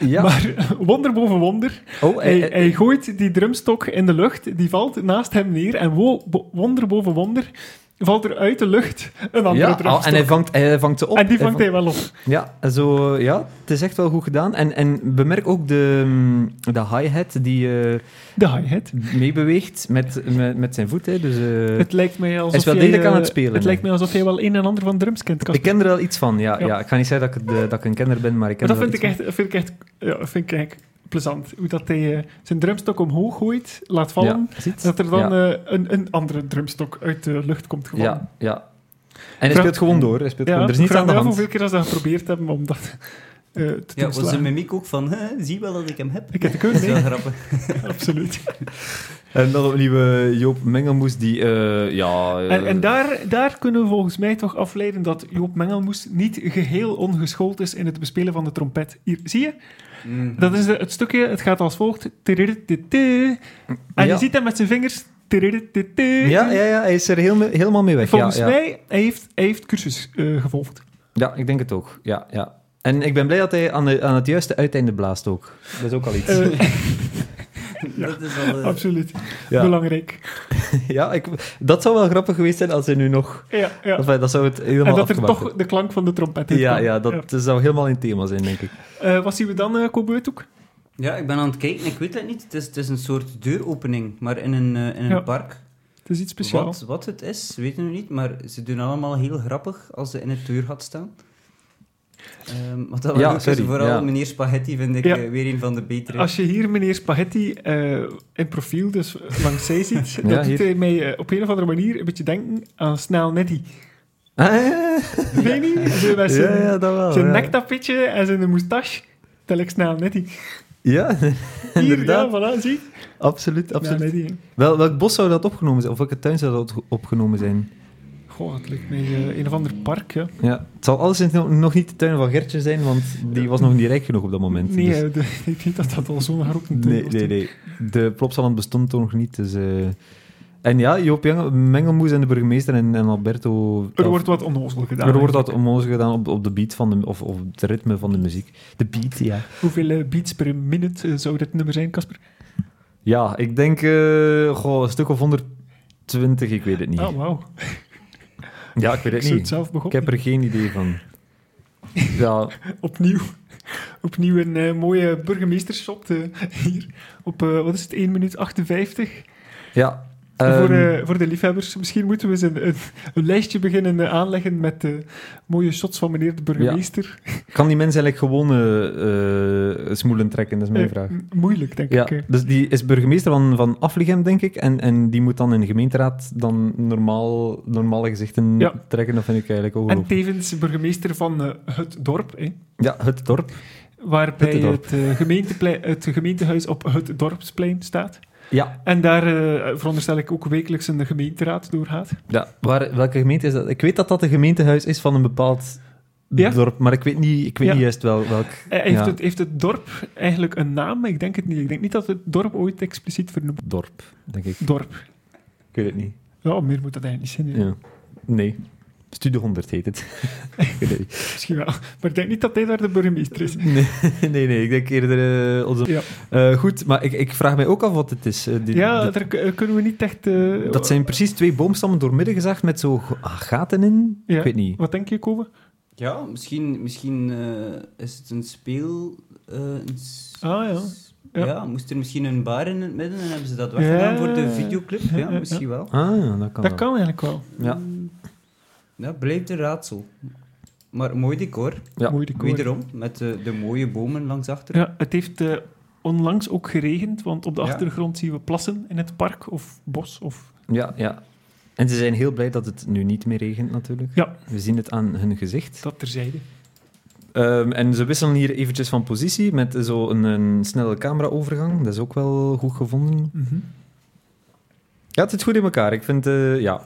Speaker 1: ja.
Speaker 2: Maar wonder boven wonder,
Speaker 1: oh,
Speaker 2: hij,
Speaker 1: hij,
Speaker 2: hij, gooit die drumstok in de lucht, die valt naast hem neer en wo- bo- wonder boven wonder valt er uit de lucht een andere
Speaker 1: ja, oh,
Speaker 2: drumstok.
Speaker 1: en hij vangt, hij vangt ze op.
Speaker 2: En die vangt hij wel op.
Speaker 1: Ja, zo, eh, ja, het is echt wel goed gedaan. En, en bemerk ook de, mm, de hi-hat die eh,
Speaker 2: De hi-hat.
Speaker 1: meebeweegt met, met, met zijn voet. Hè. Dus, eh,
Speaker 2: Het lijkt mij alsof
Speaker 1: is wel
Speaker 2: jij,
Speaker 1: degelijk
Speaker 2: eh,
Speaker 1: aan het spelen,
Speaker 2: Het
Speaker 1: hè.
Speaker 2: lijkt mij alsof jij wel een en ander van drums kent,
Speaker 1: ik
Speaker 2: Casper.
Speaker 1: ken er wel iets van, ja. ja.
Speaker 2: Ja.
Speaker 1: ik ga niet zeggen dat ik, de- dat ik een kenner ben, maar ik ken
Speaker 2: Maar dat
Speaker 1: er
Speaker 2: vind
Speaker 1: wel
Speaker 2: ik echt, vind ik echt, ja, vind ik eigenlijk plezant. Hoe dat hij eh, zijn drumstok omhoog gooit, laat
Speaker 1: iets van.
Speaker 2: vallen,
Speaker 1: Ja, ziet?
Speaker 2: dat er dan
Speaker 1: ja.
Speaker 2: eh, een, een andere drumstok uit de lucht komt gevallen.
Speaker 1: ja, ja. En hij
Speaker 2: Vraag-
Speaker 1: speelt gewoon door. Hij speelt
Speaker 2: Ja,
Speaker 1: gewoon, er is
Speaker 2: ik
Speaker 1: niets
Speaker 2: vraag
Speaker 1: aan de
Speaker 2: me af
Speaker 1: hand.
Speaker 2: hoeveel keer dat ze dat geprobeerd hebben om dat eh, te
Speaker 3: Ja,
Speaker 2: doen
Speaker 3: was
Speaker 2: slagen.
Speaker 3: zijn mimiek ook van, hè, zie wel dat ik hem heb.
Speaker 2: Ik heb de
Speaker 3: Dat
Speaker 2: keuze,
Speaker 3: is wel grappig.
Speaker 2: absoluut.
Speaker 1: En dan opnieuw eh, Joop Mengelmoes, die... eh, ja, eh,
Speaker 2: En, en daar, daar kunnen we volgens mij toch afleiden dat Joop Mengelmoes niet geheel ongeschoold is in het bespelen van de trompet. Hier, zie je?
Speaker 3: Mm.
Speaker 2: Dat is de- het stukje, het gaat als volgt. Tirirititu. En
Speaker 1: Ja.
Speaker 2: je ziet hem met zijn vingers. Tirirititu.
Speaker 1: Ja, ja, ja, hij is er heel, me- helemaal mee weg.
Speaker 2: Volgens
Speaker 1: ja, ja.
Speaker 2: mij, hij heeft, hij heeft cursus eh, gevolgd.
Speaker 1: Ja, ik denk het ook. Ja, ja. En ik ben blij dat hij aan, de, aan het juiste uiteinde blaast ook. Dat is ook al iets.
Speaker 2: Eh,
Speaker 3: Dat is wel... eh,
Speaker 2: absoluut.
Speaker 1: ja.
Speaker 2: Belangrijk.
Speaker 1: Ja, ik, dat zou wel grappig geweest zijn als hij nu nog...
Speaker 2: Ja, ja.
Speaker 1: Enfin, dat zou het helemaal
Speaker 2: En dat er
Speaker 1: afgemaakt
Speaker 2: toch de klank van de trompet in
Speaker 1: hebben. Ja,
Speaker 2: kwam.
Speaker 1: ja, dat zou helemaal in het thema zijn, denk ik.
Speaker 2: Eh, wat zien we dan, eh Kobe Uithoek?
Speaker 3: Ja, ik ben aan het kijken, ik weet het niet. Het is, het is een soort deuropening, maar in een, eh, in een
Speaker 2: Ja.
Speaker 3: park.
Speaker 2: Het is iets speciaals.
Speaker 3: Wat, wat het is, weten we niet, maar ze doen allemaal heel grappig als ze in het deurgat staan. Ehm wat dat wel
Speaker 1: Ja,
Speaker 3: leuk is,
Speaker 1: sorry,
Speaker 3: vooral
Speaker 1: ja.
Speaker 3: meneer Spaghetti vind ik
Speaker 2: Ja.
Speaker 3: eh, weer een van de betere.
Speaker 2: Als je hier meneer Spaghetti eh, in profiel, dus langs zij ziet,
Speaker 1: Ja,
Speaker 2: dat
Speaker 1: hier.
Speaker 2: doet hij mij eh, op een of andere manier een beetje denken aan Snel Neddy.
Speaker 1: Ah, ja,
Speaker 2: Weet je niet? Zo met
Speaker 1: ja,
Speaker 2: zijn,
Speaker 1: ja, dat wel.
Speaker 2: zijn
Speaker 1: ja.
Speaker 2: nektapetje en zijn moustache. Tel ik Snel Neddy. Hier,
Speaker 1: Ja, inderdaad.
Speaker 2: Ja, voilà, zie.
Speaker 1: Absoluut,
Speaker 2: Snel
Speaker 1: absoluut.
Speaker 2: Neddy, hè.
Speaker 1: Wel, welk bos zou dat opgenomen zijn? Of welke tuin zou dat opgenomen zijn?
Speaker 2: Goh, het lijkt mij eh, een of ander park, hè.
Speaker 1: Ja. Het zal alleszins nog, nog niet de tuin van Gertje zijn, want die was nog niet rijk genoeg op dat moment.
Speaker 2: Nee,
Speaker 1: Dus-
Speaker 2: eh, de- ik denk niet dat dat al zo'n grote tuin
Speaker 1: nee,
Speaker 2: was
Speaker 1: nee,
Speaker 2: toen.
Speaker 1: nee. De plopsaland bestond toen nog niet. Dus, eh, En ja, Joop Jengel- Mengelmoes en de burgemeester en, en Alberto...
Speaker 2: Er wordt wat onnozel gedaan.
Speaker 1: er wordt
Speaker 2: eigenlijk.
Speaker 1: dat onnozel gedaan op, op de beat van de, of, of het ritme van de muziek. De beat, ja.
Speaker 2: Hoeveel eh, beats per minute eh, zou dit nummer zijn, Casper?
Speaker 1: Ja, ik denk eh, goh, een stuk of 120, ik weet het niet.
Speaker 2: Ah, wauw.
Speaker 1: Ja, ik weet
Speaker 2: Ik
Speaker 1: het
Speaker 2: zou het
Speaker 1: niet.
Speaker 2: zelf
Speaker 1: Ik
Speaker 2: begonnen.
Speaker 1: heb er geen idee van. Ja,
Speaker 2: Opnieuw. Opnieuw een eh, mooie burgemeestershot eh, hier op, eh, wat is het, 1 minuut 58.
Speaker 1: ja.
Speaker 2: voor,
Speaker 1: ehm,
Speaker 2: eh, voor de liefhebbers, misschien moeten we eens een, een, een lijstje beginnen eh, aanleggen met eh, mooie shots van meneer de burgemeester.
Speaker 1: Kan die mens eigenlijk gewoon eh, eh, smoelen trekken? Dat is mijn
Speaker 2: Eh,
Speaker 1: vraag.
Speaker 2: m- moeilijk, denk
Speaker 1: Ja,
Speaker 2: ik. eh.
Speaker 1: dus die is burgemeester van, van Afligem, denk ik. En, en die moet dan in de gemeenteraad dan normaal, normale gezichten
Speaker 2: Ja.
Speaker 1: trekken. Dat vind ik eigenlijk ook
Speaker 2: En tevens burgemeester van eh, het dorp, hè,
Speaker 1: Ja, het dorp.
Speaker 2: waarbij
Speaker 1: Het
Speaker 2: het,
Speaker 1: dorp.
Speaker 2: eh, gemeenteplei- het gemeentehuis op het dorpsplein staat.
Speaker 1: Ja,
Speaker 2: En daar eh, veronderstel ik ook wekelijks een gemeenteraad doorgaat.
Speaker 1: ja. Waar, welke gemeente is dat? Ik weet dat dat een gemeentehuis is van een bepaald
Speaker 2: Ja.
Speaker 1: dorp, maar ik weet niet, ik weet
Speaker 2: Ja.
Speaker 1: niet juist wel, welk.
Speaker 2: Eh, heeft,
Speaker 1: ja,
Speaker 2: het, heeft het dorp eigenlijk een naam? Ik denk het niet. Ik denk niet dat het dorp ooit expliciet vernoemd
Speaker 1: dorp, denk ik.
Speaker 2: Dorp.
Speaker 1: Ik weet het niet.
Speaker 2: Ja, oh, meer moet dat eigenlijk niet zijn. hè.
Speaker 1: Ja. Nee. Studio 100 heet het. Ik weet het niet.
Speaker 2: Misschien wel. Maar ik denk niet dat hij daar de burgemeester is.
Speaker 1: nee, nee, nee, ik denk eerder eh, onze...
Speaker 2: Ja.
Speaker 1: Eh, goed, maar ik, ik vraag mij ook af wat het is. Eh, die-
Speaker 2: Ja,
Speaker 1: dit-
Speaker 2: daar k- eh, kunnen we niet echt... eh,
Speaker 1: dat zijn precies twee boomstammen doormidden gezaagd met zo g- gaten in.
Speaker 2: Ja.
Speaker 1: Ik weet niet.
Speaker 2: Wat denk je, Kobe?
Speaker 3: Ja, misschien, misschien eh, is het een speel... eh, een s-
Speaker 2: Ah, ja.
Speaker 3: s-
Speaker 2: Ja.
Speaker 3: Ja. moest er misschien een bar in het midden en hebben ze dat
Speaker 2: Ja.
Speaker 3: weggedaan voor de videoclip?
Speaker 2: Ja, ja,
Speaker 3: Ja,
Speaker 2: ja.
Speaker 3: misschien wel.
Speaker 1: Ah, ja, dat kan
Speaker 2: Dat
Speaker 1: wel.
Speaker 2: kan eigenlijk wel.
Speaker 1: Ja.
Speaker 3: Mm, Dat blijft een raadsel. Maar mooi decor,
Speaker 1: Ja.
Speaker 2: Mooi decor.
Speaker 3: wederom, met eh, de, de mooie bomen langs achter.
Speaker 2: Ja, het heeft eh, onlangs ook geregend, want op de
Speaker 3: Ja.
Speaker 2: achtergrond zien we plassen in het park of bos. Of...
Speaker 1: Ja, ja. En ze zijn heel blij dat het nu niet meer regent, natuurlijk.
Speaker 2: Ja.
Speaker 1: We zien het aan hun gezicht.
Speaker 2: Dat terzijde.
Speaker 1: Ehm, en ze wisselen hier eventjes van positie met zo'n een snelle camera-overgang. Dat is ook wel goed gevonden.
Speaker 2: Mhm.
Speaker 1: Ja, het zit goed in elkaar. Ik vind, eh, ja.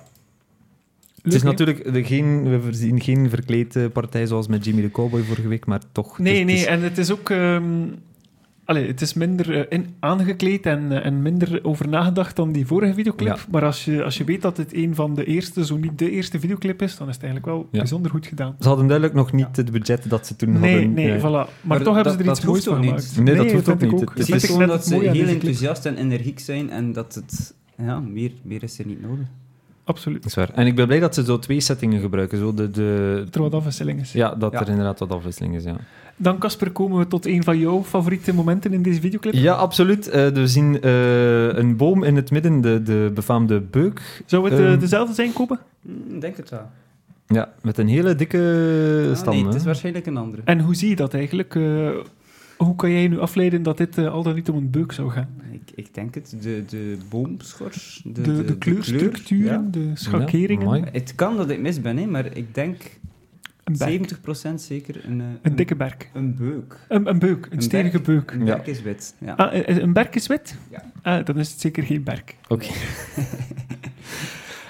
Speaker 1: het is
Speaker 2: Leuk, hè?
Speaker 1: natuurlijk de, geen, we voorzien geen verkleed eh, partij zoals met Jimmy de Cowboy vorige week, maar toch. Dus het is-
Speaker 2: Nee,
Speaker 1: het is-
Speaker 2: nee, en het is ook... ehm, Allee, het is minder eh, in, aangekleed en, eh, en minder over nagedacht dan die vorige videoclip.
Speaker 1: Ja.
Speaker 2: Maar als je, als je weet dat dit een van de eerste, zo niet de eerste videoclip is, dan is het eigenlijk wel
Speaker 1: Ja.
Speaker 2: bijzonder goed gedaan.
Speaker 1: Ze hadden duidelijk nog niet het budget dat ze toen
Speaker 2: Nee,
Speaker 1: hadden.
Speaker 2: nee,
Speaker 1: eh,
Speaker 2: voilà. Maar,
Speaker 3: Maar
Speaker 2: toch hebben ze
Speaker 3: dat-
Speaker 2: er iets
Speaker 3: dat
Speaker 2: moois
Speaker 3: hoeft
Speaker 2: van
Speaker 3: ook
Speaker 2: gemaakt.
Speaker 1: niet. Nee, dat hoeft
Speaker 2: vind
Speaker 1: ook
Speaker 2: ik
Speaker 1: niet. Het
Speaker 3: Het
Speaker 1: is
Speaker 3: is
Speaker 2: vind ik net
Speaker 3: gewoon dat
Speaker 2: het
Speaker 3: ze
Speaker 2: mooie aan
Speaker 3: heel
Speaker 2: deze clip.
Speaker 3: enthousiast en energiek zijn en dat het... Ja, meer, meer is er niet nodig.
Speaker 2: Absoluut.
Speaker 1: Dat is waar. En ik ben blij dat ze zo twee settingen gebruiken. Zo de, de,
Speaker 2: Dat er wat afwisseling is.
Speaker 1: ja, dat
Speaker 3: Ja.
Speaker 1: er inderdaad wat afwisseling is, ja.
Speaker 2: Dan, Casper, komen we tot een van jouw favoriete momenten in deze videoclip.
Speaker 1: Ja, absoluut. Eh, we zien eh, een boom in het midden, de, de befaamde beuk.
Speaker 2: Zou het eh,
Speaker 1: Ehm,
Speaker 2: dezelfde zijn, Kopen?
Speaker 3: Hm, Ik denk het wel.
Speaker 1: Ja, met een hele dikke
Speaker 3: Ah,
Speaker 1: stam.
Speaker 3: nee, het
Speaker 1: hè.
Speaker 3: is waarschijnlijk een andere.
Speaker 2: En hoe zie je dat eigenlijk? Eh, hoe kan jij nu afleiden dat dit eh, al dan niet om een beuk zou gaan?
Speaker 3: Ik, ik denk het, de, de boomschors. De,
Speaker 2: De, de, kleurstructuren, de schakeringen.
Speaker 1: mooi.
Speaker 3: ja. Het kan dat ik mis ben, hè, maar ik denk
Speaker 2: een, berk,
Speaker 3: 70% zeker een, eh,
Speaker 2: een dikke berk.
Speaker 3: Een beuk.
Speaker 2: Een, een beuk, een,
Speaker 3: Een
Speaker 2: stevige beuk.
Speaker 3: Een
Speaker 1: Ja.
Speaker 3: berk is wit. Ja.
Speaker 2: Ah, eh, een berk is wit?
Speaker 3: Ja.
Speaker 2: Ah, dan is het zeker geen berk.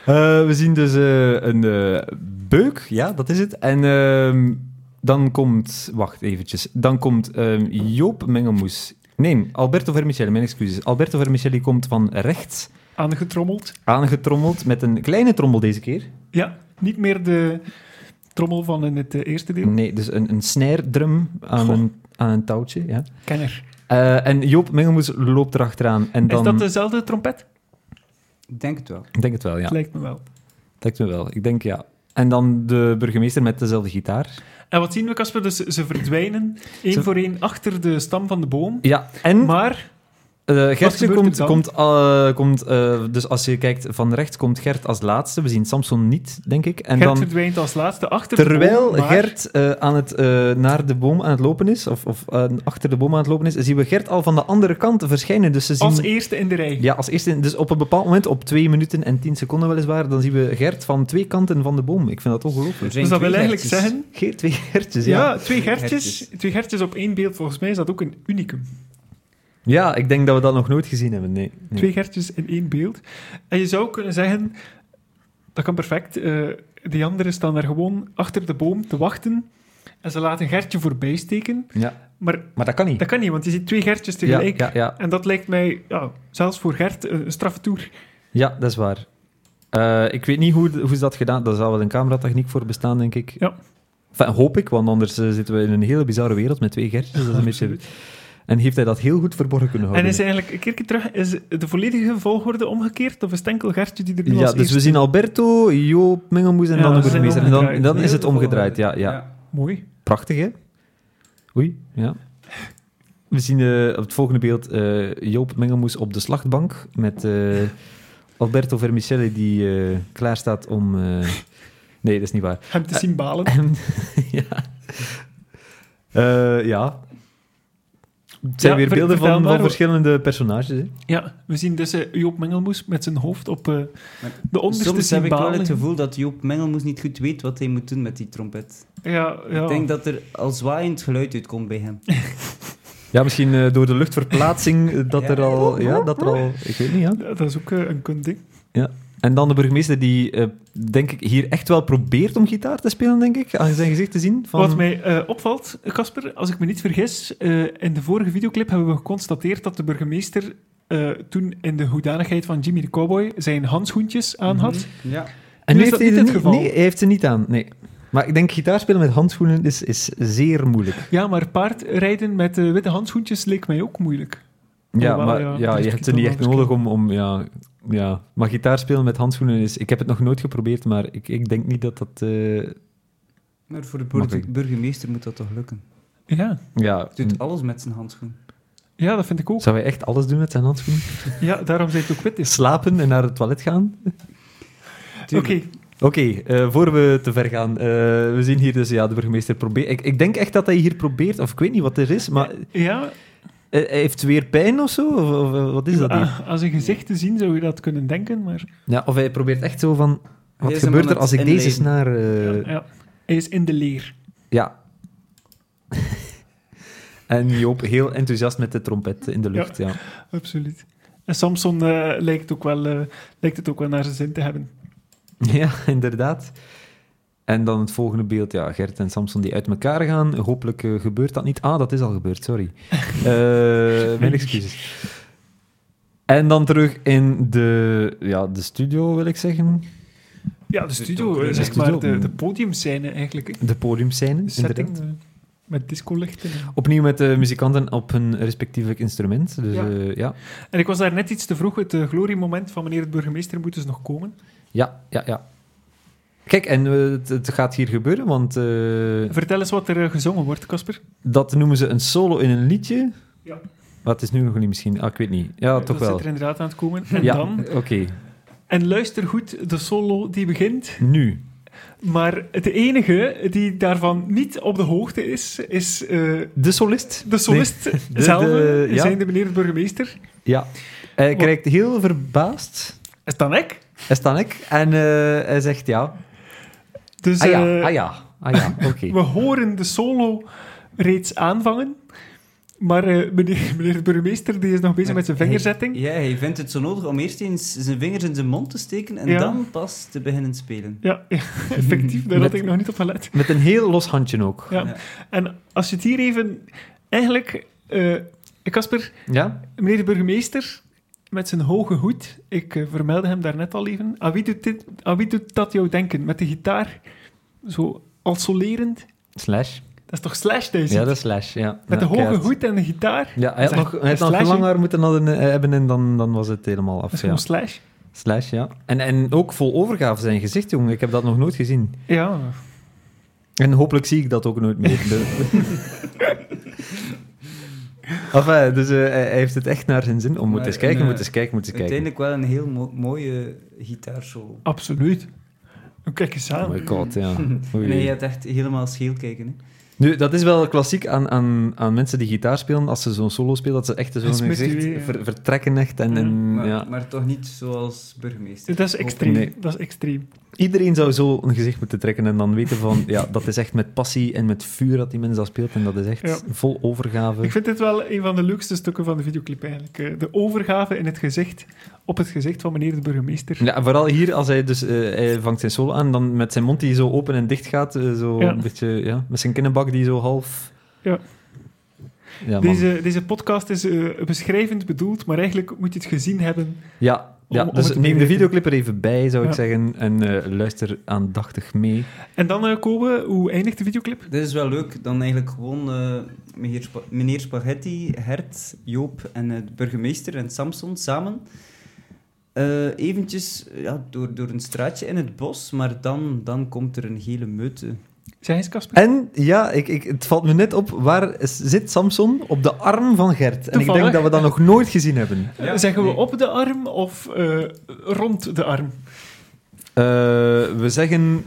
Speaker 1: Eh, we zien dus eh, een eh, beuk, ja, dat is het. En ehm, dan komt, wacht eventjes, dan komt ehm, Joop Mengelmoes. Nee, Alberto Vermicelli, mijn excuses. Alberto Vermicelli komt van rechts
Speaker 2: Aangetrommeld.
Speaker 1: aangetrommeld met een kleine trommel deze keer.
Speaker 2: Ja, niet meer de trommel van in het eh, eerste deel.
Speaker 1: Nee, dus een, een snare drum aan
Speaker 2: Goh.
Speaker 1: een, aan een touwtje. Ja.
Speaker 2: Kenner.
Speaker 1: Eh, en Joop Mengelmoes loopt erachteraan. En dan,
Speaker 2: Is dat dezelfde trompet?
Speaker 3: Ik denk het wel.
Speaker 1: Ik denk het wel, ja.
Speaker 2: Lijkt me wel.
Speaker 1: Lijkt me wel. Ik denk ja. En dan de burgemeester met dezelfde gitaar.
Speaker 2: En wat zien we, Casper? Dus ze verdwijnen één
Speaker 1: Ze-
Speaker 2: voor één achter de stam van de boom.
Speaker 1: Ja, en
Speaker 2: Maar
Speaker 1: Eh
Speaker 2: Wat
Speaker 1: Gertje
Speaker 2: gebeurt er
Speaker 1: komt,
Speaker 2: dan?
Speaker 1: komt, eh, komt eh, dus als je kijkt van rechts, komt Gert als laatste. We zien Samson niet, denk ik. En
Speaker 2: Gert
Speaker 1: dan,
Speaker 2: verdwijnt als laatste achter de
Speaker 1: terwijl
Speaker 2: boom. maar-
Speaker 1: Gert eh, aan het, eh, naar de boom aan het lopen is, of, of eh, achter de boom aan het lopen is, zien we Gert al van de andere kant verschijnen. Dus ze zien,
Speaker 2: Als eerste in de rij.
Speaker 1: ja, als eerste, dus op een bepaald moment, op twee minuten en tien seconden weliswaar, dan zien we Gert van twee kanten van de boom. Ik vind dat ongelooflijk.
Speaker 2: Dus dat wil eigenlijk zeggen...
Speaker 1: Geert, twee Gertjes, Dus ja.
Speaker 2: Ja, twee gertjes,
Speaker 3: Gertjes.
Speaker 2: twee gertjes op één beeld. Volgens mij is dat ook een unicum.
Speaker 1: Ja, ik denk dat we dat nog nooit gezien hebben, nee. nee.
Speaker 2: Twee gertjes in één beeld. En je zou kunnen zeggen... Dat kan perfect. eh, die anderen staan daar gewoon achter de boom te wachten. En ze laten Gertje voorbij steken.
Speaker 1: Ja.
Speaker 2: Maar
Speaker 1: Maar dat kan niet.
Speaker 2: dat kan niet, want je ziet twee Gertjes
Speaker 1: ja,
Speaker 2: tegelijk.
Speaker 1: ja, ja.
Speaker 2: En dat lijkt mij, ja, zelfs voor Gert, een, een straffe toer.
Speaker 1: ja, dat is waar. Eh, ik weet niet hoe, hoe is dat gedaan. Daar zal wel een cameratechniek voor bestaan, denk ik.
Speaker 2: Ja.
Speaker 1: Enfin, hoop ik, want anders eh, zitten we in een hele bizarre wereld met twee gertjes. Dat is een beetje... En heeft hij dat heel goed verborgen kunnen
Speaker 2: En
Speaker 1: houden.
Speaker 2: is eigenlijk, een keertje terug, is de volledige volgorde omgekeerd? Of is het enkel Gertje die er nu
Speaker 1: Ja,
Speaker 2: als
Speaker 1: dus we
Speaker 2: eerste-
Speaker 1: zien Alberto, Joop, Mengelmoes en
Speaker 2: Ja,
Speaker 1: dan de
Speaker 2: ze zijn
Speaker 1: burgemeester. En dan, en dan
Speaker 2: omgedraaid.
Speaker 1: is het omgedraaid, ja, ja.
Speaker 2: Mooi.
Speaker 1: Prachtig, hè? Oei, ja. We zien eh, op het volgende beeld eh, Joop Mengelmoes op de slachtbank met eh, Alberto Vermicelli die eh, klaar staat om... eh, Nee, dat is niet waar.
Speaker 2: Hem te zien balen.
Speaker 1: En- ja. Eh, ja. Het zijn
Speaker 2: Ja,
Speaker 1: weer
Speaker 2: ver-
Speaker 1: beelden
Speaker 2: vertel
Speaker 1: van,
Speaker 2: maar,
Speaker 1: van
Speaker 2: hoor.
Speaker 1: verschillende personages. Hè?
Speaker 2: Ja, we zien dus eh, Joop Mengelmoes met zijn hoofd op eh,
Speaker 3: Maar
Speaker 2: de onderste
Speaker 3: Soms heb ik wel
Speaker 2: cymbalen.
Speaker 3: het gevoel dat Joop Mengelmoes niet goed weet wat hij moet doen met die trompet.
Speaker 2: Ja, ja.
Speaker 3: Ik denk dat er al zwaaiend geluid uitkomt bij hem.
Speaker 1: Ja, misschien eh, door de luchtverplaatsing eh, dat,
Speaker 3: Ja.
Speaker 1: er al, ja, dat er al... Ik weet niet, ja.
Speaker 2: Ja, dat is ook eh, een kundig.
Speaker 1: En dan de burgemeester die, eh, denk ik, hier echt wel probeert om gitaar te spelen, denk ik. Aan zijn gezicht te zien. Van...
Speaker 2: Wat mij eh, opvalt, Casper, als ik me niet vergis, eh, in de vorige videoclip hebben we geconstateerd dat de burgemeester eh, toen in de hoedanigheid van Jimmy de Cowboy zijn handschoentjes aan had.
Speaker 3: Mhm. Ja.
Speaker 1: En
Speaker 2: Nu is dat
Speaker 1: hij
Speaker 2: niet
Speaker 1: er
Speaker 2: het geval.
Speaker 1: Nee, hij heeft ze niet aan. Nee. Maar ik denk, gitaar spelen met handschoenen is, is zeer moeilijk.
Speaker 2: Ja, maar paardrijden met eh, witte handschoentjes leek mij ook moeilijk.
Speaker 1: Ja,
Speaker 2: Jawel,
Speaker 1: maar
Speaker 2: Oh, ja.
Speaker 1: ja,
Speaker 2: Dat is
Speaker 1: je hebt ze niet
Speaker 2: gitaar
Speaker 1: echt nodig om... om ja, ja. Maar gitaar spelen met handschoenen is... Ik heb het nog nooit geprobeerd, maar ik, ik denk niet dat dat... eh,
Speaker 3: Maar voor de bur-
Speaker 1: Makkelijk.
Speaker 3: burgemeester moet dat toch lukken?
Speaker 2: Ja,
Speaker 1: ja,
Speaker 3: Hij doet
Speaker 2: Mm.
Speaker 3: alles met zijn handschoen.
Speaker 2: ja dat vind ik ook.
Speaker 1: zou hij echt alles doen met zijn handschoenen?
Speaker 2: Ja, daarom zijn het ook wit is.
Speaker 1: Slapen en naar het toilet gaan?
Speaker 2: Oké,
Speaker 1: Oké, eh, voor we te ver gaan. eh, we zien hier dus, ja, de burgemeester probeert... Ik, ik denk echt dat hij hier probeert, of ik weet niet wat er is, maar eh,
Speaker 2: ja,
Speaker 1: hij heeft weer pijn of zo? Of, of, eh, wat is dat hier?
Speaker 2: a- ah, als een gezicht te zien zou je dat kunnen denken, maar
Speaker 1: Ja, of hij probeert echt zo van...
Speaker 3: Hij
Speaker 1: Wat
Speaker 3: is hem
Speaker 1: gebeurt
Speaker 3: aan
Speaker 1: er
Speaker 3: het
Speaker 1: als ik deze
Speaker 3: inleven.
Speaker 1: snaar... eh,
Speaker 2: ja, hij is in de leer.
Speaker 1: ja. en Joop heel enthousiast met de trompet in de lucht, ja.
Speaker 2: Absoluut. En Samson eh, lijkt, ook wel, eh, lijkt het ook wel naar zijn zin te hebben.
Speaker 1: Ja, inderdaad. En dan het volgende beeld, ja, Gert en Samson die uit elkaar gaan. Hopelijk eh, gebeurt dat niet. Ah, dat is al gebeurd, sorry. Eh, mijn excuses. En dan terug in de, ja, de studio, wil ik zeggen.
Speaker 2: Ja, de studio, eh,
Speaker 1: De
Speaker 2: zeg maar,
Speaker 1: studio.
Speaker 2: de, de podiumscène eigenlijk. hè.
Speaker 1: De podiumscène,
Speaker 2: De setting
Speaker 1: inderdaad.
Speaker 2: eh, met discolichten.
Speaker 1: Opnieuw met de muzikanten op hun respectievelijk instrument. Dus
Speaker 2: Ja.
Speaker 1: ja, ja.
Speaker 2: En ik was daar net iets te vroeg. Het eh, gloriemoment van meneer de burgemeester moet dus nog komen.
Speaker 1: ja, ja, ja. Kijk, en eh, het, het gaat hier gebeuren, want eh,
Speaker 2: Vertel eens wat er eh, gezongen wordt, Casper.
Speaker 1: dat noemen ze een solo in een liedje.
Speaker 2: Ja.
Speaker 1: Wat is nu nog niet misschien? Ah, ik weet niet. Ja,
Speaker 2: Eh,
Speaker 1: toch
Speaker 2: dat
Speaker 1: wel.
Speaker 2: zit er inderdaad aan het komen. En
Speaker 1: ja,
Speaker 2: dan...
Speaker 1: oké.
Speaker 2: En luister goed, de solo die begint.
Speaker 1: Nu.
Speaker 2: Maar de enige die daarvan niet op de hoogte is, is eh,
Speaker 1: De solist?
Speaker 2: de solist
Speaker 1: de-
Speaker 2: zelf,
Speaker 1: de- ja.
Speaker 2: zijn de meneer de burgemeester.
Speaker 1: Ja. Hij kijkt heel verbaasd.
Speaker 2: Is dan ik?
Speaker 1: Hij staan ik. En eh, hij zegt ja.
Speaker 2: Dus
Speaker 1: Ah ja,
Speaker 2: eh,
Speaker 1: ah ja, ah ja, oké.
Speaker 2: we horen de solo reeds aanvangen. Maar eh, meneer, meneer de burgemeester die is nog bezig met zijn vingerzetting.
Speaker 3: Ja, hij vindt het zo nodig om eerst eens zijn vingers in zijn mond te steken en
Speaker 2: Ja.
Speaker 3: dan pas te beginnen spelen.
Speaker 2: Ja, ja, effectief. Daar had
Speaker 1: Met-
Speaker 2: ik nog niet op gelet.
Speaker 1: Met een heel los handje ook.
Speaker 2: Ja.
Speaker 3: Ja.
Speaker 2: En als je het hier even... Eigenlijk, eh, Casper,
Speaker 1: Ja?
Speaker 2: meneer de burgemeester, met zijn hoge hoed, ik eh, vermeldde hem daarnet al even, aan wie, doet dit, aan wie doet dat jou denken? Met de gitaar, zo alsolerend.
Speaker 1: Slash.
Speaker 2: Dat is toch Slash, deze?
Speaker 1: Ja, dat is slash, ja.
Speaker 2: met de
Speaker 1: Ja,
Speaker 2: hoge
Speaker 1: keihard.
Speaker 2: hoed en de gitaar.
Speaker 1: Ja, hij had
Speaker 2: Dat is
Speaker 1: nog, hij had
Speaker 2: echt
Speaker 1: nog
Speaker 2: slash,
Speaker 1: lang
Speaker 2: hè?
Speaker 1: haar moeten hadden, eh, hebben en dan, dan was het helemaal
Speaker 2: Dat is
Speaker 1: af. Ja.
Speaker 2: gewoon Slash.
Speaker 1: Slash, ja. En, en ook vol overgave zijn gezicht, jongen. Ik heb dat nog nooit gezien.
Speaker 2: Ja.
Speaker 1: En hopelijk zie ik dat ook nooit meer. De- enfin, dus eh, hij hij heeft het echt naar zijn zin. Om moet
Speaker 3: Maar
Speaker 1: eens kijken,
Speaker 3: een,
Speaker 1: moet eens kijken, moet eens kijken.
Speaker 3: Uiteindelijk wel een heel mo- mooie gitaarsolo.
Speaker 2: Absoluut. Nou, Kijk eens
Speaker 1: Oh
Speaker 2: aan.
Speaker 1: my god, ja. Oei.
Speaker 3: En hij gaat echt helemaal scheel kijken. Hè.
Speaker 1: Nu, dat is wel klassiek aan, aan, aan mensen die gitaar spelen. Als ze zo'n solo spelen, dat ze echt zo'n
Speaker 2: Gesmutst
Speaker 1: gezicht
Speaker 2: weer, ja.
Speaker 1: ver- vertrekken echt. En, en,
Speaker 3: Maar,
Speaker 1: eh, Mhm, ja.
Speaker 3: maar toch niet zoals burgemeester.
Speaker 2: Mm, Dat is extreem.
Speaker 1: Nee.
Speaker 2: Dat is extreem.
Speaker 1: Iedereen zou zo een gezicht moeten trekken en dan weten van, ja, dat is echt met passie en met vuur dat die mens dat speelt. En dat is echt
Speaker 2: Ja.
Speaker 1: vol overgave.
Speaker 2: Ik vind dit wel een van de leukste stukken van de videoclip eigenlijk. Eh, De overgave in het gezicht, op het gezicht van meneer de burgemeester.
Speaker 1: Ja, en vooral hier, als hij dus eh, hij vangt zijn solo aan, dan met zijn mond die zo open en dicht gaat, eh, zo
Speaker 2: Ja.
Speaker 1: een beetje, ja, met zijn kinnenbak die zo half...
Speaker 2: Ja. eh,
Speaker 1: Ja, man.
Speaker 2: deze, deze podcast is eh, beschrijvend bedoeld, maar eigenlijk moet je het gezien hebben.
Speaker 1: ja, ja
Speaker 2: om- om
Speaker 1: dus
Speaker 2: het te
Speaker 1: neem de
Speaker 2: begrijpen.
Speaker 1: videoclip er even bij, zou ik
Speaker 2: Ja.
Speaker 1: zeggen, en eh, luister aandachtig mee.
Speaker 2: En dan eh Kobe, hoe eindigt de videoclip?
Speaker 3: Dit is wel leuk. Dan eigenlijk gewoon eh, meneer, Spa- meneer Spaghetti, Hert, Joop en eh, de burgemeester en Samson samen. Eh, eventjes ja, door, door een straatje in het bos, maar dan, dan komt er een hele meute.
Speaker 2: Zeg eens, Casper.
Speaker 1: En ja, ik, ik, het valt me net op, waar is- zit Samson? Op de arm van Gert. En ik
Speaker 2: Toevallig.
Speaker 1: denk dat we dat nog nooit gezien hebben.
Speaker 3: Ja,
Speaker 2: Zeggen we
Speaker 3: nee.
Speaker 2: op de arm of eh, rond de arm?
Speaker 1: Eh, we zeggen...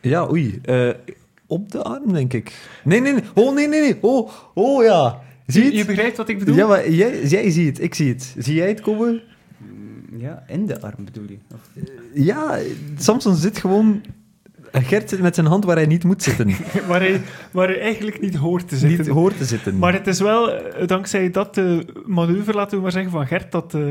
Speaker 1: Ja, oei. eh, op de arm, denk ik. Nee, nee, nee. Oh, nee, nee, nee. Oh, oh ja. Zie je
Speaker 2: Je,
Speaker 1: het?
Speaker 2: je begrijpt wat ik bedoel?
Speaker 1: Ja, maar jij, jij ziet het, ik zie het. Zie jij het komen?
Speaker 3: Mm, Ja, in de arm bedoel je. Of-
Speaker 1: Ja, Samson zit gewoon... Gert zit met zijn hand waar hij niet moet zitten.
Speaker 2: waar, hij, waar hij eigenlijk niet hoort te zitten.
Speaker 1: niet hoort te zitten.
Speaker 2: Maar het is wel eh, dankzij dat eh, manoeuvre, laten we maar zeggen, van Gert, dat, eh,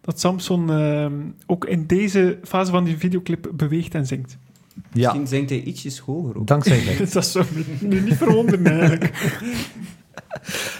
Speaker 2: dat Samson eh, ook in deze fase van die videoclip beweegt en zingt.
Speaker 1: Ja,
Speaker 3: Misschien zingt hij ietsjes hoger op.
Speaker 1: dankzij Gert.
Speaker 2: dat zou me nu niet verwonderen eigenlijk.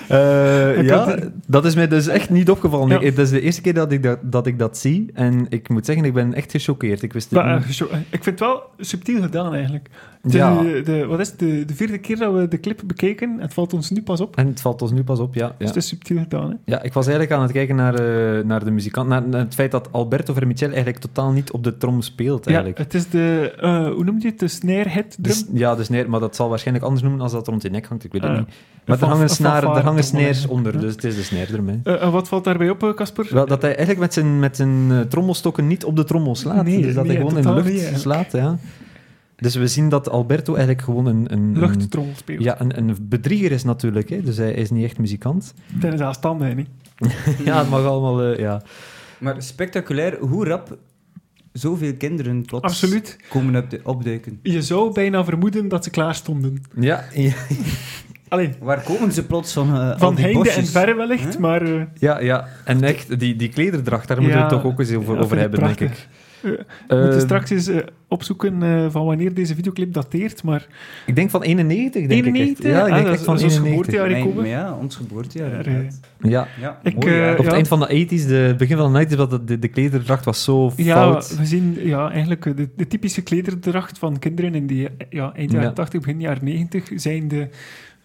Speaker 1: Eh,
Speaker 2: Ik
Speaker 1: ja,
Speaker 2: had-
Speaker 1: dat is mij dus echt niet opgevallen.
Speaker 2: Ja.
Speaker 1: Ik- het is de eerste keer dat ik dat, dat ik dat zie. En ik moet zeggen, ik ben echt gechoqueerd. Ik wist het
Speaker 2: Maar, eh,
Speaker 1: niet.
Speaker 2: zo- eh, ik vind het wel subtiel gedaan eigenlijk. Het is
Speaker 1: Ja.
Speaker 2: De, de, wat is het, de, de vierde keer dat we de clip bekeken, het valt ons nu pas op.
Speaker 1: En het valt ons nu pas op, ja.
Speaker 2: Dus
Speaker 1: ja.
Speaker 2: het is subtiel gedaan. Hè?
Speaker 1: Ja, ik was eigenlijk aan het kijken naar, eh, naar de muzikant. Naar, naar het feit dat Alberto Vermicelli eigenlijk totaal niet op de trom speelt.
Speaker 2: Ja,
Speaker 1: Eigenlijk.
Speaker 2: het is de, eh, hoe noem je het, de snare hit drum?
Speaker 1: Dus, ja, dus nee, maar dat zal waarschijnlijk anders noemen als dat rond je nek hangt. Ik weet het
Speaker 2: Eh,
Speaker 1: niet.
Speaker 2: een
Speaker 1: Maar er
Speaker 2: fanf-
Speaker 1: hangen,
Speaker 2: een
Speaker 1: snaren,
Speaker 2: fanfare
Speaker 1: er hangen
Speaker 2: trommel
Speaker 1: snares
Speaker 2: eigenlijk,
Speaker 1: onder,
Speaker 2: hè?
Speaker 1: dus het is de snaredrum. Hè.
Speaker 2: Eh, en wat valt daarbij op, eh, Casper?
Speaker 1: Wel, dat hij eigenlijk met zijn, met zijn eh, trommelstokken niet op de trommel slaat.
Speaker 2: Nee,
Speaker 1: dus dat
Speaker 2: nee,
Speaker 1: hij gewoon in de
Speaker 2: totaal
Speaker 1: lucht
Speaker 2: niet, hè.
Speaker 1: slaat. Ja. Dus we zien dat Alberto eigenlijk gewoon een, een, een,
Speaker 2: Luchttrommel speelt.
Speaker 1: ja, een, een bedrieger is natuurlijk. Hè. Dus hij is niet echt muzikant.
Speaker 2: Tijdens haar standen, hè, niet?
Speaker 1: ja, het mag allemaal... eh, ja.
Speaker 3: Maar spectaculair hoe rap zoveel kinderen plots
Speaker 2: Absoluut.
Speaker 3: komen op de, opduiken.
Speaker 2: Je zou bijna vermoeden dat ze klaar stonden.
Speaker 1: Ja, ja,
Speaker 2: Alleen
Speaker 3: Waar komen ze plots van? eh, al
Speaker 2: van
Speaker 3: die
Speaker 2: heinde en
Speaker 3: bosjes?
Speaker 2: verre wellicht,
Speaker 3: Hè?
Speaker 2: maar eh,
Speaker 1: ja, ja. En echt, die, die klederdracht, daar moeten
Speaker 2: Ja,
Speaker 1: we het toch ook eens over,
Speaker 2: ja,
Speaker 1: over
Speaker 2: vind ik
Speaker 1: hebben, denk ik.
Speaker 2: prachtig. we moeten
Speaker 1: Eh,
Speaker 2: straks eens eh, opzoeken eh, van wanneer deze videoclip dateert. Maar
Speaker 1: Ik denk van 91, denk ik
Speaker 2: 91?
Speaker 1: echt. Ja, ik
Speaker 2: Ah,
Speaker 1: denk
Speaker 2: dat
Speaker 1: echt
Speaker 2: is-
Speaker 1: van
Speaker 2: dat is ons
Speaker 1: 91.
Speaker 2: geboortejaar.
Speaker 3: Mijn-
Speaker 2: komen.
Speaker 3: ja, ons geboortejaar.
Speaker 2: Ja,
Speaker 3: inderdaad.
Speaker 1: Ja,
Speaker 3: Ja,
Speaker 2: Ik,
Speaker 3: mooi, ja.
Speaker 2: eh,
Speaker 1: op het
Speaker 2: Ja.
Speaker 1: eind van de 80s, de begin van de 90s, was dat de, de klederdracht was zo
Speaker 2: ja,
Speaker 1: fout.
Speaker 2: we zien ja, eigenlijk eh, de, de typische klederdracht van kinderen in die eh, ja, eind jaren
Speaker 1: Ja.
Speaker 2: 80, begin jaren 90 zijn de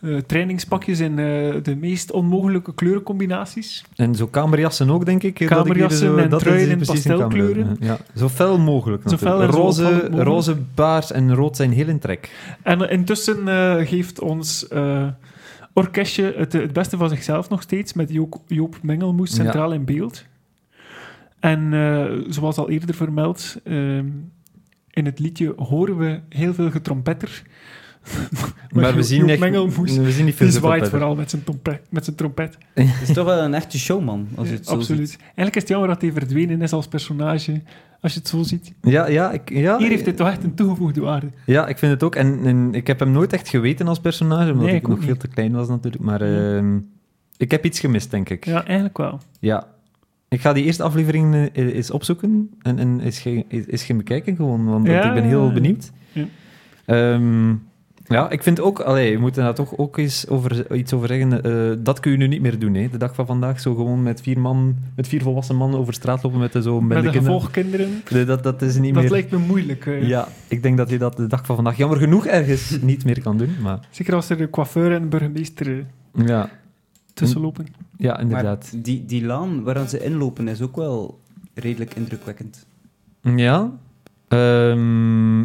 Speaker 2: eh, trainingspakjes in eh, de meest onmogelijke kleurencombinaties.
Speaker 1: En zo kamerjassen ook, denk ik. dat ik hier
Speaker 2: Kamerjassen
Speaker 1: zo-
Speaker 2: en
Speaker 1: dat
Speaker 2: truien
Speaker 1: is
Speaker 2: in
Speaker 1: precies een
Speaker 2: pastelkleuren.
Speaker 1: kamerjas. Ja, ja. zo fel mogelijk
Speaker 2: Zo fel
Speaker 1: natuurlijk.
Speaker 2: en zo
Speaker 1: roze,
Speaker 2: opvallend mogelijk.
Speaker 1: roze, paars en rood zijn heel in trek.
Speaker 2: En intussen eh, geeft ons eh, orkestje het, het beste van zichzelf nog steeds, met Joop, Joop Mengelmoes centraal in beeld. En eh, zoals al eerder vermeld, ehm, in het liedje horen we heel veel getrompetter.
Speaker 1: Maar, we,
Speaker 2: Joop-
Speaker 1: zien
Speaker 2: Joop
Speaker 1: echt,
Speaker 2: Mengelmoes,
Speaker 1: we zien niet veel
Speaker 2: die zwaait
Speaker 1: verder.
Speaker 2: vooral met zijn, trompe- met zijn trompet.
Speaker 3: Het is toch wel een echte showman, als je het zo
Speaker 2: Absoluut.
Speaker 3: ziet.
Speaker 2: Eigenlijk is het jammer dat hij verdwenen is als personage, als je het zo ziet.
Speaker 1: Ja, ja, ik, ja,
Speaker 2: Hier heeft dit toch echt een toegevoegde waarde.
Speaker 1: ja, ik vind het ook. En, en ik heb hem nooit echt geweten als personage, omdat
Speaker 2: Nee,
Speaker 1: ik
Speaker 2: ik ook
Speaker 1: nog veel
Speaker 2: niet.
Speaker 1: te klein was natuurlijk. Maar
Speaker 2: Ja.
Speaker 1: ehm, ik heb iets gemist, denk ik.
Speaker 2: Ja, eigenlijk wel.
Speaker 1: Ja. Ik ga die eerste aflevering eh, eens opzoeken en, en eens, ge- eens, eens gaan bekijken gewoon, want
Speaker 2: Ja,
Speaker 1: want ik ben
Speaker 2: ja,
Speaker 1: heel
Speaker 2: ja.
Speaker 1: benieuwd.
Speaker 2: Ja.
Speaker 1: Ehm, ja, ik vind ook... Allee, we moeten daar toch ook eens over, iets over zeggen. eh, dat kun je nu niet meer doen, hè. De dag van vandaag, zo gewoon met vier man, met vier volwassen mannen over straat lopen met de zo...
Speaker 2: Met de
Speaker 1: kinderen.
Speaker 2: gevolgkinderen,
Speaker 1: Nee, dat, dat is niet
Speaker 2: dat
Speaker 1: meer...
Speaker 2: lijkt me moeilijk. eh.
Speaker 1: Ja, ik denk dat je dat de dag van vandaag jammer genoeg ergens niet meer kan doen, maar...
Speaker 2: Zeker als er de coiffeur en de burgemeester eh,
Speaker 1: Ja,
Speaker 2: tussen lopen.
Speaker 1: ja
Speaker 3: Maar
Speaker 1: inderdaad.
Speaker 3: die, die laan waar ze inlopen is ook wel redelijk indrukwekkend.
Speaker 1: Ja. Ehm,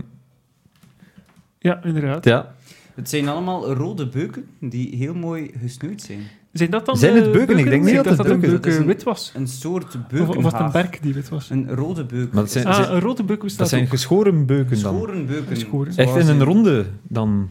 Speaker 2: Ja, inderdaad.
Speaker 1: ja.
Speaker 3: Het zijn allemaal rode beuken die heel mooi gesnoeid zijn.
Speaker 2: Zijn dat dan
Speaker 1: Zijn het
Speaker 2: eh,
Speaker 1: beuken? Ik denk niet dat het
Speaker 2: een
Speaker 1: beuken
Speaker 3: zijn.
Speaker 2: beuk eh,
Speaker 3: Dat is een-
Speaker 2: wit was.
Speaker 3: Een soort
Speaker 2: Of,
Speaker 3: beuken.
Speaker 2: of was het een berk die wit was?
Speaker 3: Een rode beuk.
Speaker 1: Maar dat zijn-
Speaker 2: ah,
Speaker 1: Eh, zijn-
Speaker 2: een rode beuk bestaat
Speaker 1: Dat zijn
Speaker 2: ook.
Speaker 1: geschoren beuken dan.
Speaker 3: Schoren beuken.
Speaker 2: Schoren.
Speaker 1: Echt in een ronde dan.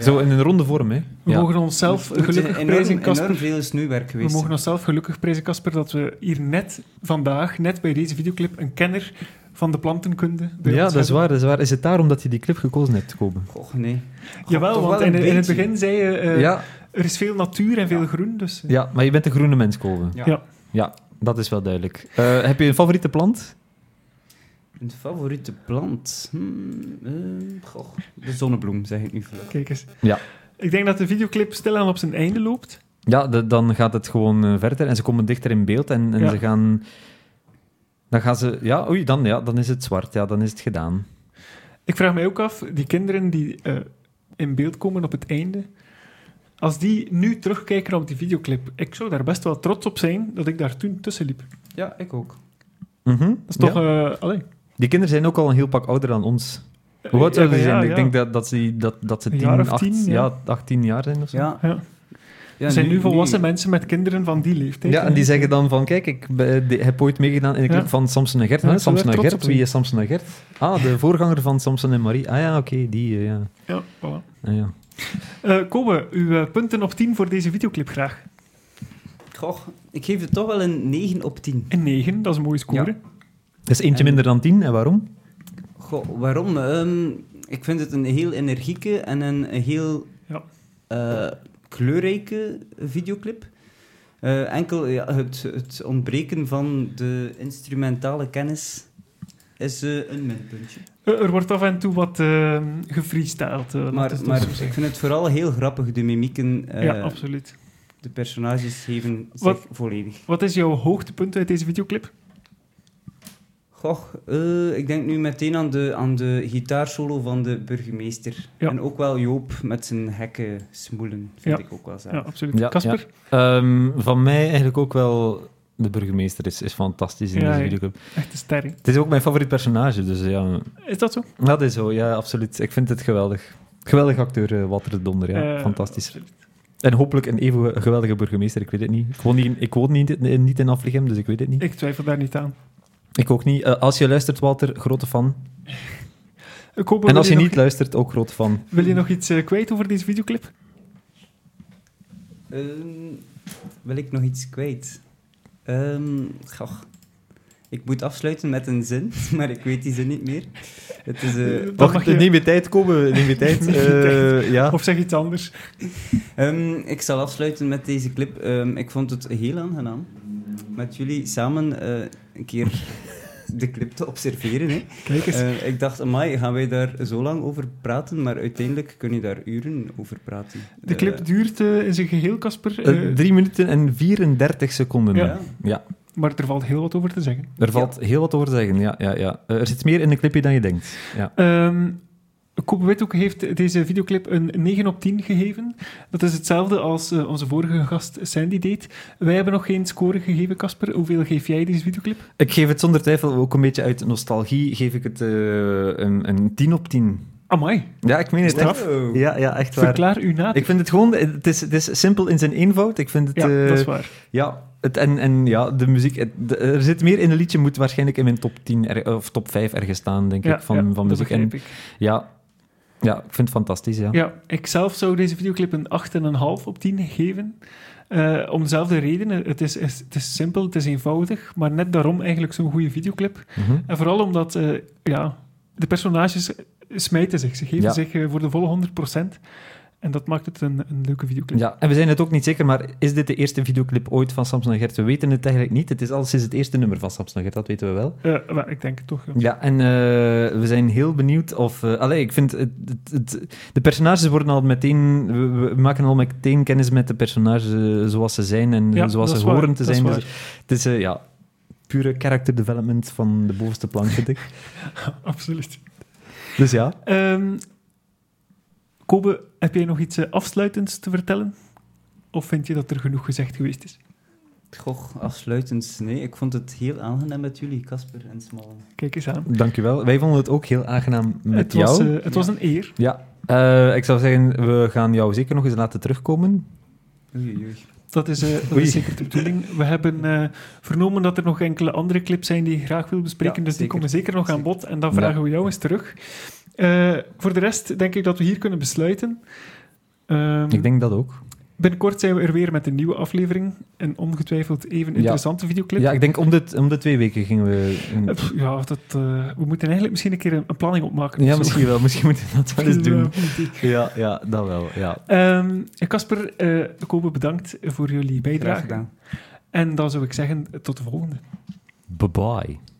Speaker 1: Zo in een ronde vorm, hè?
Speaker 2: We
Speaker 1: Ja.
Speaker 2: mogen onszelf gelukkig
Speaker 3: enorm,
Speaker 2: prijzen,
Speaker 3: enorm
Speaker 2: Casper.
Speaker 3: veel snoeiwerk
Speaker 2: We
Speaker 3: geweest.
Speaker 2: mogen onszelf gelukkig prijzen, Casper, dat we hier net vandaag, net bij deze videoclip, een kenner van de plantenkunde. bij
Speaker 1: Ja,
Speaker 2: ons
Speaker 1: dat is
Speaker 2: hebben.
Speaker 1: waar, dat is waar. Is het daarom dat je die clip gekozen hebt, Kobe?
Speaker 3: Goh, nee.
Speaker 2: Jawel,
Speaker 3: Toch wel
Speaker 2: want
Speaker 3: een
Speaker 2: in, in het
Speaker 3: beetje.
Speaker 2: begin zei je, eh,
Speaker 1: ja,
Speaker 2: er is veel natuur en veel groen, dus... eh,
Speaker 1: ja, maar je bent een groene mens, Kobe.
Speaker 3: Ja.
Speaker 2: Ja.
Speaker 1: Ja, dat is wel duidelijk. Eh, heb je een favoriete plant?
Speaker 3: Een favoriete plant? Hmm, eh, goh, de zonnebloem, zeg ik nu. voor.
Speaker 2: Kijk eens.
Speaker 1: Ja.
Speaker 2: Ik denk dat de videoclip stilaan op zijn einde loopt.
Speaker 1: Ja, de- dan gaat het gewoon eh, verder en ze komen dichter in beeld en, en
Speaker 2: Ja.
Speaker 1: ze gaan... Dan gaan ze... Ja, oei, dan, ja, dan is het zwart. Ja, dan is het gedaan.
Speaker 2: Ik vraag mij ook af, die kinderen die eh, in beeld komen op het einde, als die nu terugkijken op die videoclip, ik zou daar best wel trots op zijn dat ik daar toen tussen liep.
Speaker 3: Ja, ik ook.
Speaker 1: Mhm,
Speaker 2: Dat is
Speaker 1: ja.
Speaker 2: toch... eh, allee.
Speaker 1: Die kinderen zijn ook al een heel pak ouder dan ons. Hoe oud
Speaker 2: Ja,
Speaker 1: zouden ze
Speaker 2: ja,
Speaker 1: zijn?
Speaker 2: ja.
Speaker 1: Ik denk dat, dat, ze, dat, dat ze
Speaker 2: Een
Speaker 1: 10,
Speaker 2: jaar of
Speaker 1: 8,
Speaker 2: 10, ja.
Speaker 1: ja, 18 jaar zijn of zo.
Speaker 3: Ja.
Speaker 2: Ja.
Speaker 3: Ja,
Speaker 2: Er zijn nu volwassen mensen met kinderen van die leeftijd.
Speaker 1: Ja, en die zeggen dan van, kijk, ik be- de- heb ooit meegedaan in de clip
Speaker 2: Ja.
Speaker 1: van Samson en Gert.
Speaker 2: Ja,
Speaker 1: Huh,
Speaker 2: ik zou
Speaker 1: Samson
Speaker 2: daar
Speaker 1: en Gert,
Speaker 2: trots op zijn.
Speaker 1: wie is Samson en Gert? Ah, de voorganger van Samson en Marie. Ah ja, oké, die, eh, ja.
Speaker 2: Ja, voilà.
Speaker 1: Ah, ja.
Speaker 2: Eh, Kobe, uw eh, punten op 10 voor deze videoclip graag.
Speaker 3: Goh, ik geef het toch wel een 9 op 10.
Speaker 2: Een 9, dat is een mooie score.
Speaker 1: Dat is eentje
Speaker 3: En-
Speaker 1: minder dan 10, en waarom?
Speaker 3: Goh, waarom? Ehm, ik vind het een heel energieke en een, een heel
Speaker 2: Ja.
Speaker 3: eh, kleurrijke videoclip. Eh, enkel ja, het, het ontbreken van de instrumentale kennis is eh, een minpuntje.
Speaker 2: Eh, er wordt af en toe wat eh gefreestyled. eh, laat
Speaker 3: Maar,
Speaker 2: het ons
Speaker 3: maar
Speaker 2: zo zeggen.
Speaker 3: ik vind het vooral heel grappig, de mimieken. eh,
Speaker 2: ja, absoluut.
Speaker 3: de personages geven zich
Speaker 2: Wat-
Speaker 3: volledig.
Speaker 2: Wat is jouw hoogtepunt uit deze videoclip?
Speaker 3: Goh, eh, ik denk nu meteen aan de, aan de gitaarsolo van de burgemeester.
Speaker 2: Ja.
Speaker 3: En ook wel Joop met zijn hekken smoelen, vind
Speaker 2: Ja.
Speaker 3: ik ook wel zelf.
Speaker 2: Ja, absoluut.
Speaker 1: Ja,
Speaker 2: Casper?
Speaker 1: Ehm, van mij eigenlijk ook wel... De burgemeester is, is fantastisch in
Speaker 2: Ja,
Speaker 1: deze
Speaker 2: ja.
Speaker 1: videoclip.
Speaker 2: Echt een sterren.
Speaker 1: Het is ook mijn favoriet personage, dus eh, ja...
Speaker 2: Is dat zo?
Speaker 1: Dat is zo, ja, absoluut. Ik vind het geweldig. Geweldig acteur, eh, Walter de Donder, ja.
Speaker 2: Eh,
Speaker 1: Fantastisch.
Speaker 2: absoluut.
Speaker 1: En hopelijk een even geweldige burgemeester, ik weet het niet. Ik woon niet, in- ik woon niet, in- niet in Aflichem, dus ik weet het niet. Ik,
Speaker 2: Ik twijfel daar niet aan.
Speaker 1: ook niet. Eh, als je luistert, Walter, grote fan.
Speaker 2: Ik hoop
Speaker 1: en als je
Speaker 2: wil
Speaker 1: niet
Speaker 2: nog,
Speaker 1: luistert, ook grote fan.
Speaker 2: Wil je nog iets eh, kwijt over deze videoclip?
Speaker 3: Ehm, wil ik nog iets kwijt? Ehm, goh. Ik moet afsluiten met een zin, maar ik weet die zin niet meer. Het is, eh,
Speaker 2: Dan
Speaker 1: Wacht,
Speaker 2: mag je-
Speaker 1: neem je tijd, komen. Neem je tijd.
Speaker 2: Neem je
Speaker 1: Eh, ja.
Speaker 2: Of zeg iets anders?
Speaker 3: ehm, ik zal afsluiten met deze clip. Ehm, ik vond het heel aangenaam met jullie samen eh, een keer de clip te observeren. Hè.
Speaker 2: Kijk eens.
Speaker 3: Eh, ik dacht, amai, gaan wij daar zo lang over praten? Maar uiteindelijk kun je daar uren over praten.
Speaker 2: de clip
Speaker 3: Eh,
Speaker 2: duurt eh, in zijn geheel, Casper.
Speaker 1: Eh,
Speaker 2: eh,
Speaker 1: drie minuten en 34 seconden.
Speaker 2: Ja.
Speaker 1: Ja.
Speaker 2: maar er valt heel wat over te zeggen.
Speaker 1: Er valt heel wat over te zeggen, ja. ja, ja. Eh, er zit meer in de clipje dan je denkt. Ja.
Speaker 2: Ehm Kobe Withoek heeft deze videoclip een 9 op 10 gegeven. Dat is hetzelfde als eh, onze vorige gast Sandy deed. Wij hebben nog geen score gegeven, Casper. Hoeveel geef jij deze videoclip?
Speaker 1: Ik geef het zonder twijfel ook een beetje uit nostalgie, geef ik het eh, een, een 10 op 10.
Speaker 2: Amai,
Speaker 1: Ja, ik meen het echt.
Speaker 3: wow.
Speaker 1: Ja, ja, echt waar.
Speaker 2: verklaar u na.
Speaker 1: Ik vind het gewoon, het is, het is simpel in zijn eenvoud. Ik vind het,
Speaker 2: Ja,
Speaker 1: eh,
Speaker 2: dat is waar.
Speaker 1: ja, het en, en ja, de muziek, het- de- er zit meer in een liedje, moet waarschijnlijk in mijn top 10 er- of top 5 ergens staan, denk ik, van, van
Speaker 2: dat
Speaker 1: muziek. En,
Speaker 2: begrijp ik.
Speaker 1: ja, ja, ik vind het fantastisch, ja.
Speaker 2: Ja, ik zelf zou deze videoclip een 8,5 op 10 geven. Eh, om dezelfde reden. Het is, is- het is simpel, het is eenvoudig, maar net daarom eigenlijk zo'n goede videoclip.
Speaker 1: Mhm.
Speaker 2: En vooral omdat eh, ja, de personages smijten zich. Ze geven
Speaker 1: Ja.
Speaker 2: zich eh, voor de volle 100%. En dat maakt het een, een leuke videoclip.
Speaker 1: Ja, en we zijn het ook niet zeker, maar is dit de eerste videoclip ooit van Samson en Gert? We weten het eigenlijk niet. Het is al sinds het eerste nummer van Samson en Gert, dat weten we wel.
Speaker 2: Eh, wel, ik denk het toch. ja.
Speaker 1: Ja, en eh, we zijn heel benieuwd of... eh allee, ik vind... Het, het- het- de personages worden al meteen... We, we maken al meteen kennis met de personages eh, zoals ze zijn en
Speaker 2: Ja,
Speaker 1: zoals
Speaker 2: dat
Speaker 1: ze
Speaker 2: is waar,
Speaker 1: horen te
Speaker 2: dat is
Speaker 1: zijn.
Speaker 2: waar.
Speaker 1: Dus het is, eh, ja, pure character development van de bovenste plank, vind ik.
Speaker 2: Absoluut.
Speaker 1: Dus ja.
Speaker 2: Ehm, Kobe, heb jij nog iets eh, afsluitends te vertellen? Of vind je dat er genoeg gezegd geweest is?
Speaker 3: Goh, afsluitend. Nee, ik vond het heel aangenaam met jullie, Casper en Smallen.
Speaker 2: Kijk eens aan.
Speaker 1: Dankjewel. Wij vonden het ook heel aangenaam met
Speaker 2: het
Speaker 1: jou.
Speaker 2: was, eh, het was
Speaker 3: Ja.
Speaker 2: een eer.
Speaker 1: Ja. Eh, ik zou zeggen, we gaan jou zeker nog eens laten terugkomen.
Speaker 2: Mhm.
Speaker 3: Oei, oei, oei.
Speaker 2: Dat is, eh, dat
Speaker 1: Oei.
Speaker 2: is zeker de bedoeling. We hebben eh, vernomen dat er nog enkele andere clips zijn die je graag wil bespreken.
Speaker 3: Ja,
Speaker 2: dus die
Speaker 3: zeker.
Speaker 2: komen zeker nog aan bod. En dan
Speaker 1: Ja.
Speaker 2: vragen we jou eens terug. Eh, voor de rest denk ik dat we hier kunnen besluiten. Ehm,
Speaker 1: Ik denk dat ook.
Speaker 2: Binnenkort zijn we er weer met een nieuwe aflevering. Een ongetwijfeld even interessante videoclip.
Speaker 1: Ja, ik denk om de, om de twee weken gingen we...
Speaker 2: Eh, pff, ja dat, eh, we moeten eigenlijk misschien een keer een, een planning opmaken. of
Speaker 1: Ja,
Speaker 2: zo.
Speaker 1: misschien wel. Misschien moeten we dat wel eens doen.
Speaker 2: Eh, goed idee.
Speaker 1: Ja, ja, dat wel. Ja.
Speaker 2: Ehm, en Casper, eh Kobe, bedankt voor jullie
Speaker 3: Graag
Speaker 2: bijdrage.
Speaker 3: gedaan.
Speaker 2: En dan zou ik zeggen, tot de volgende.
Speaker 1: Bye-bye.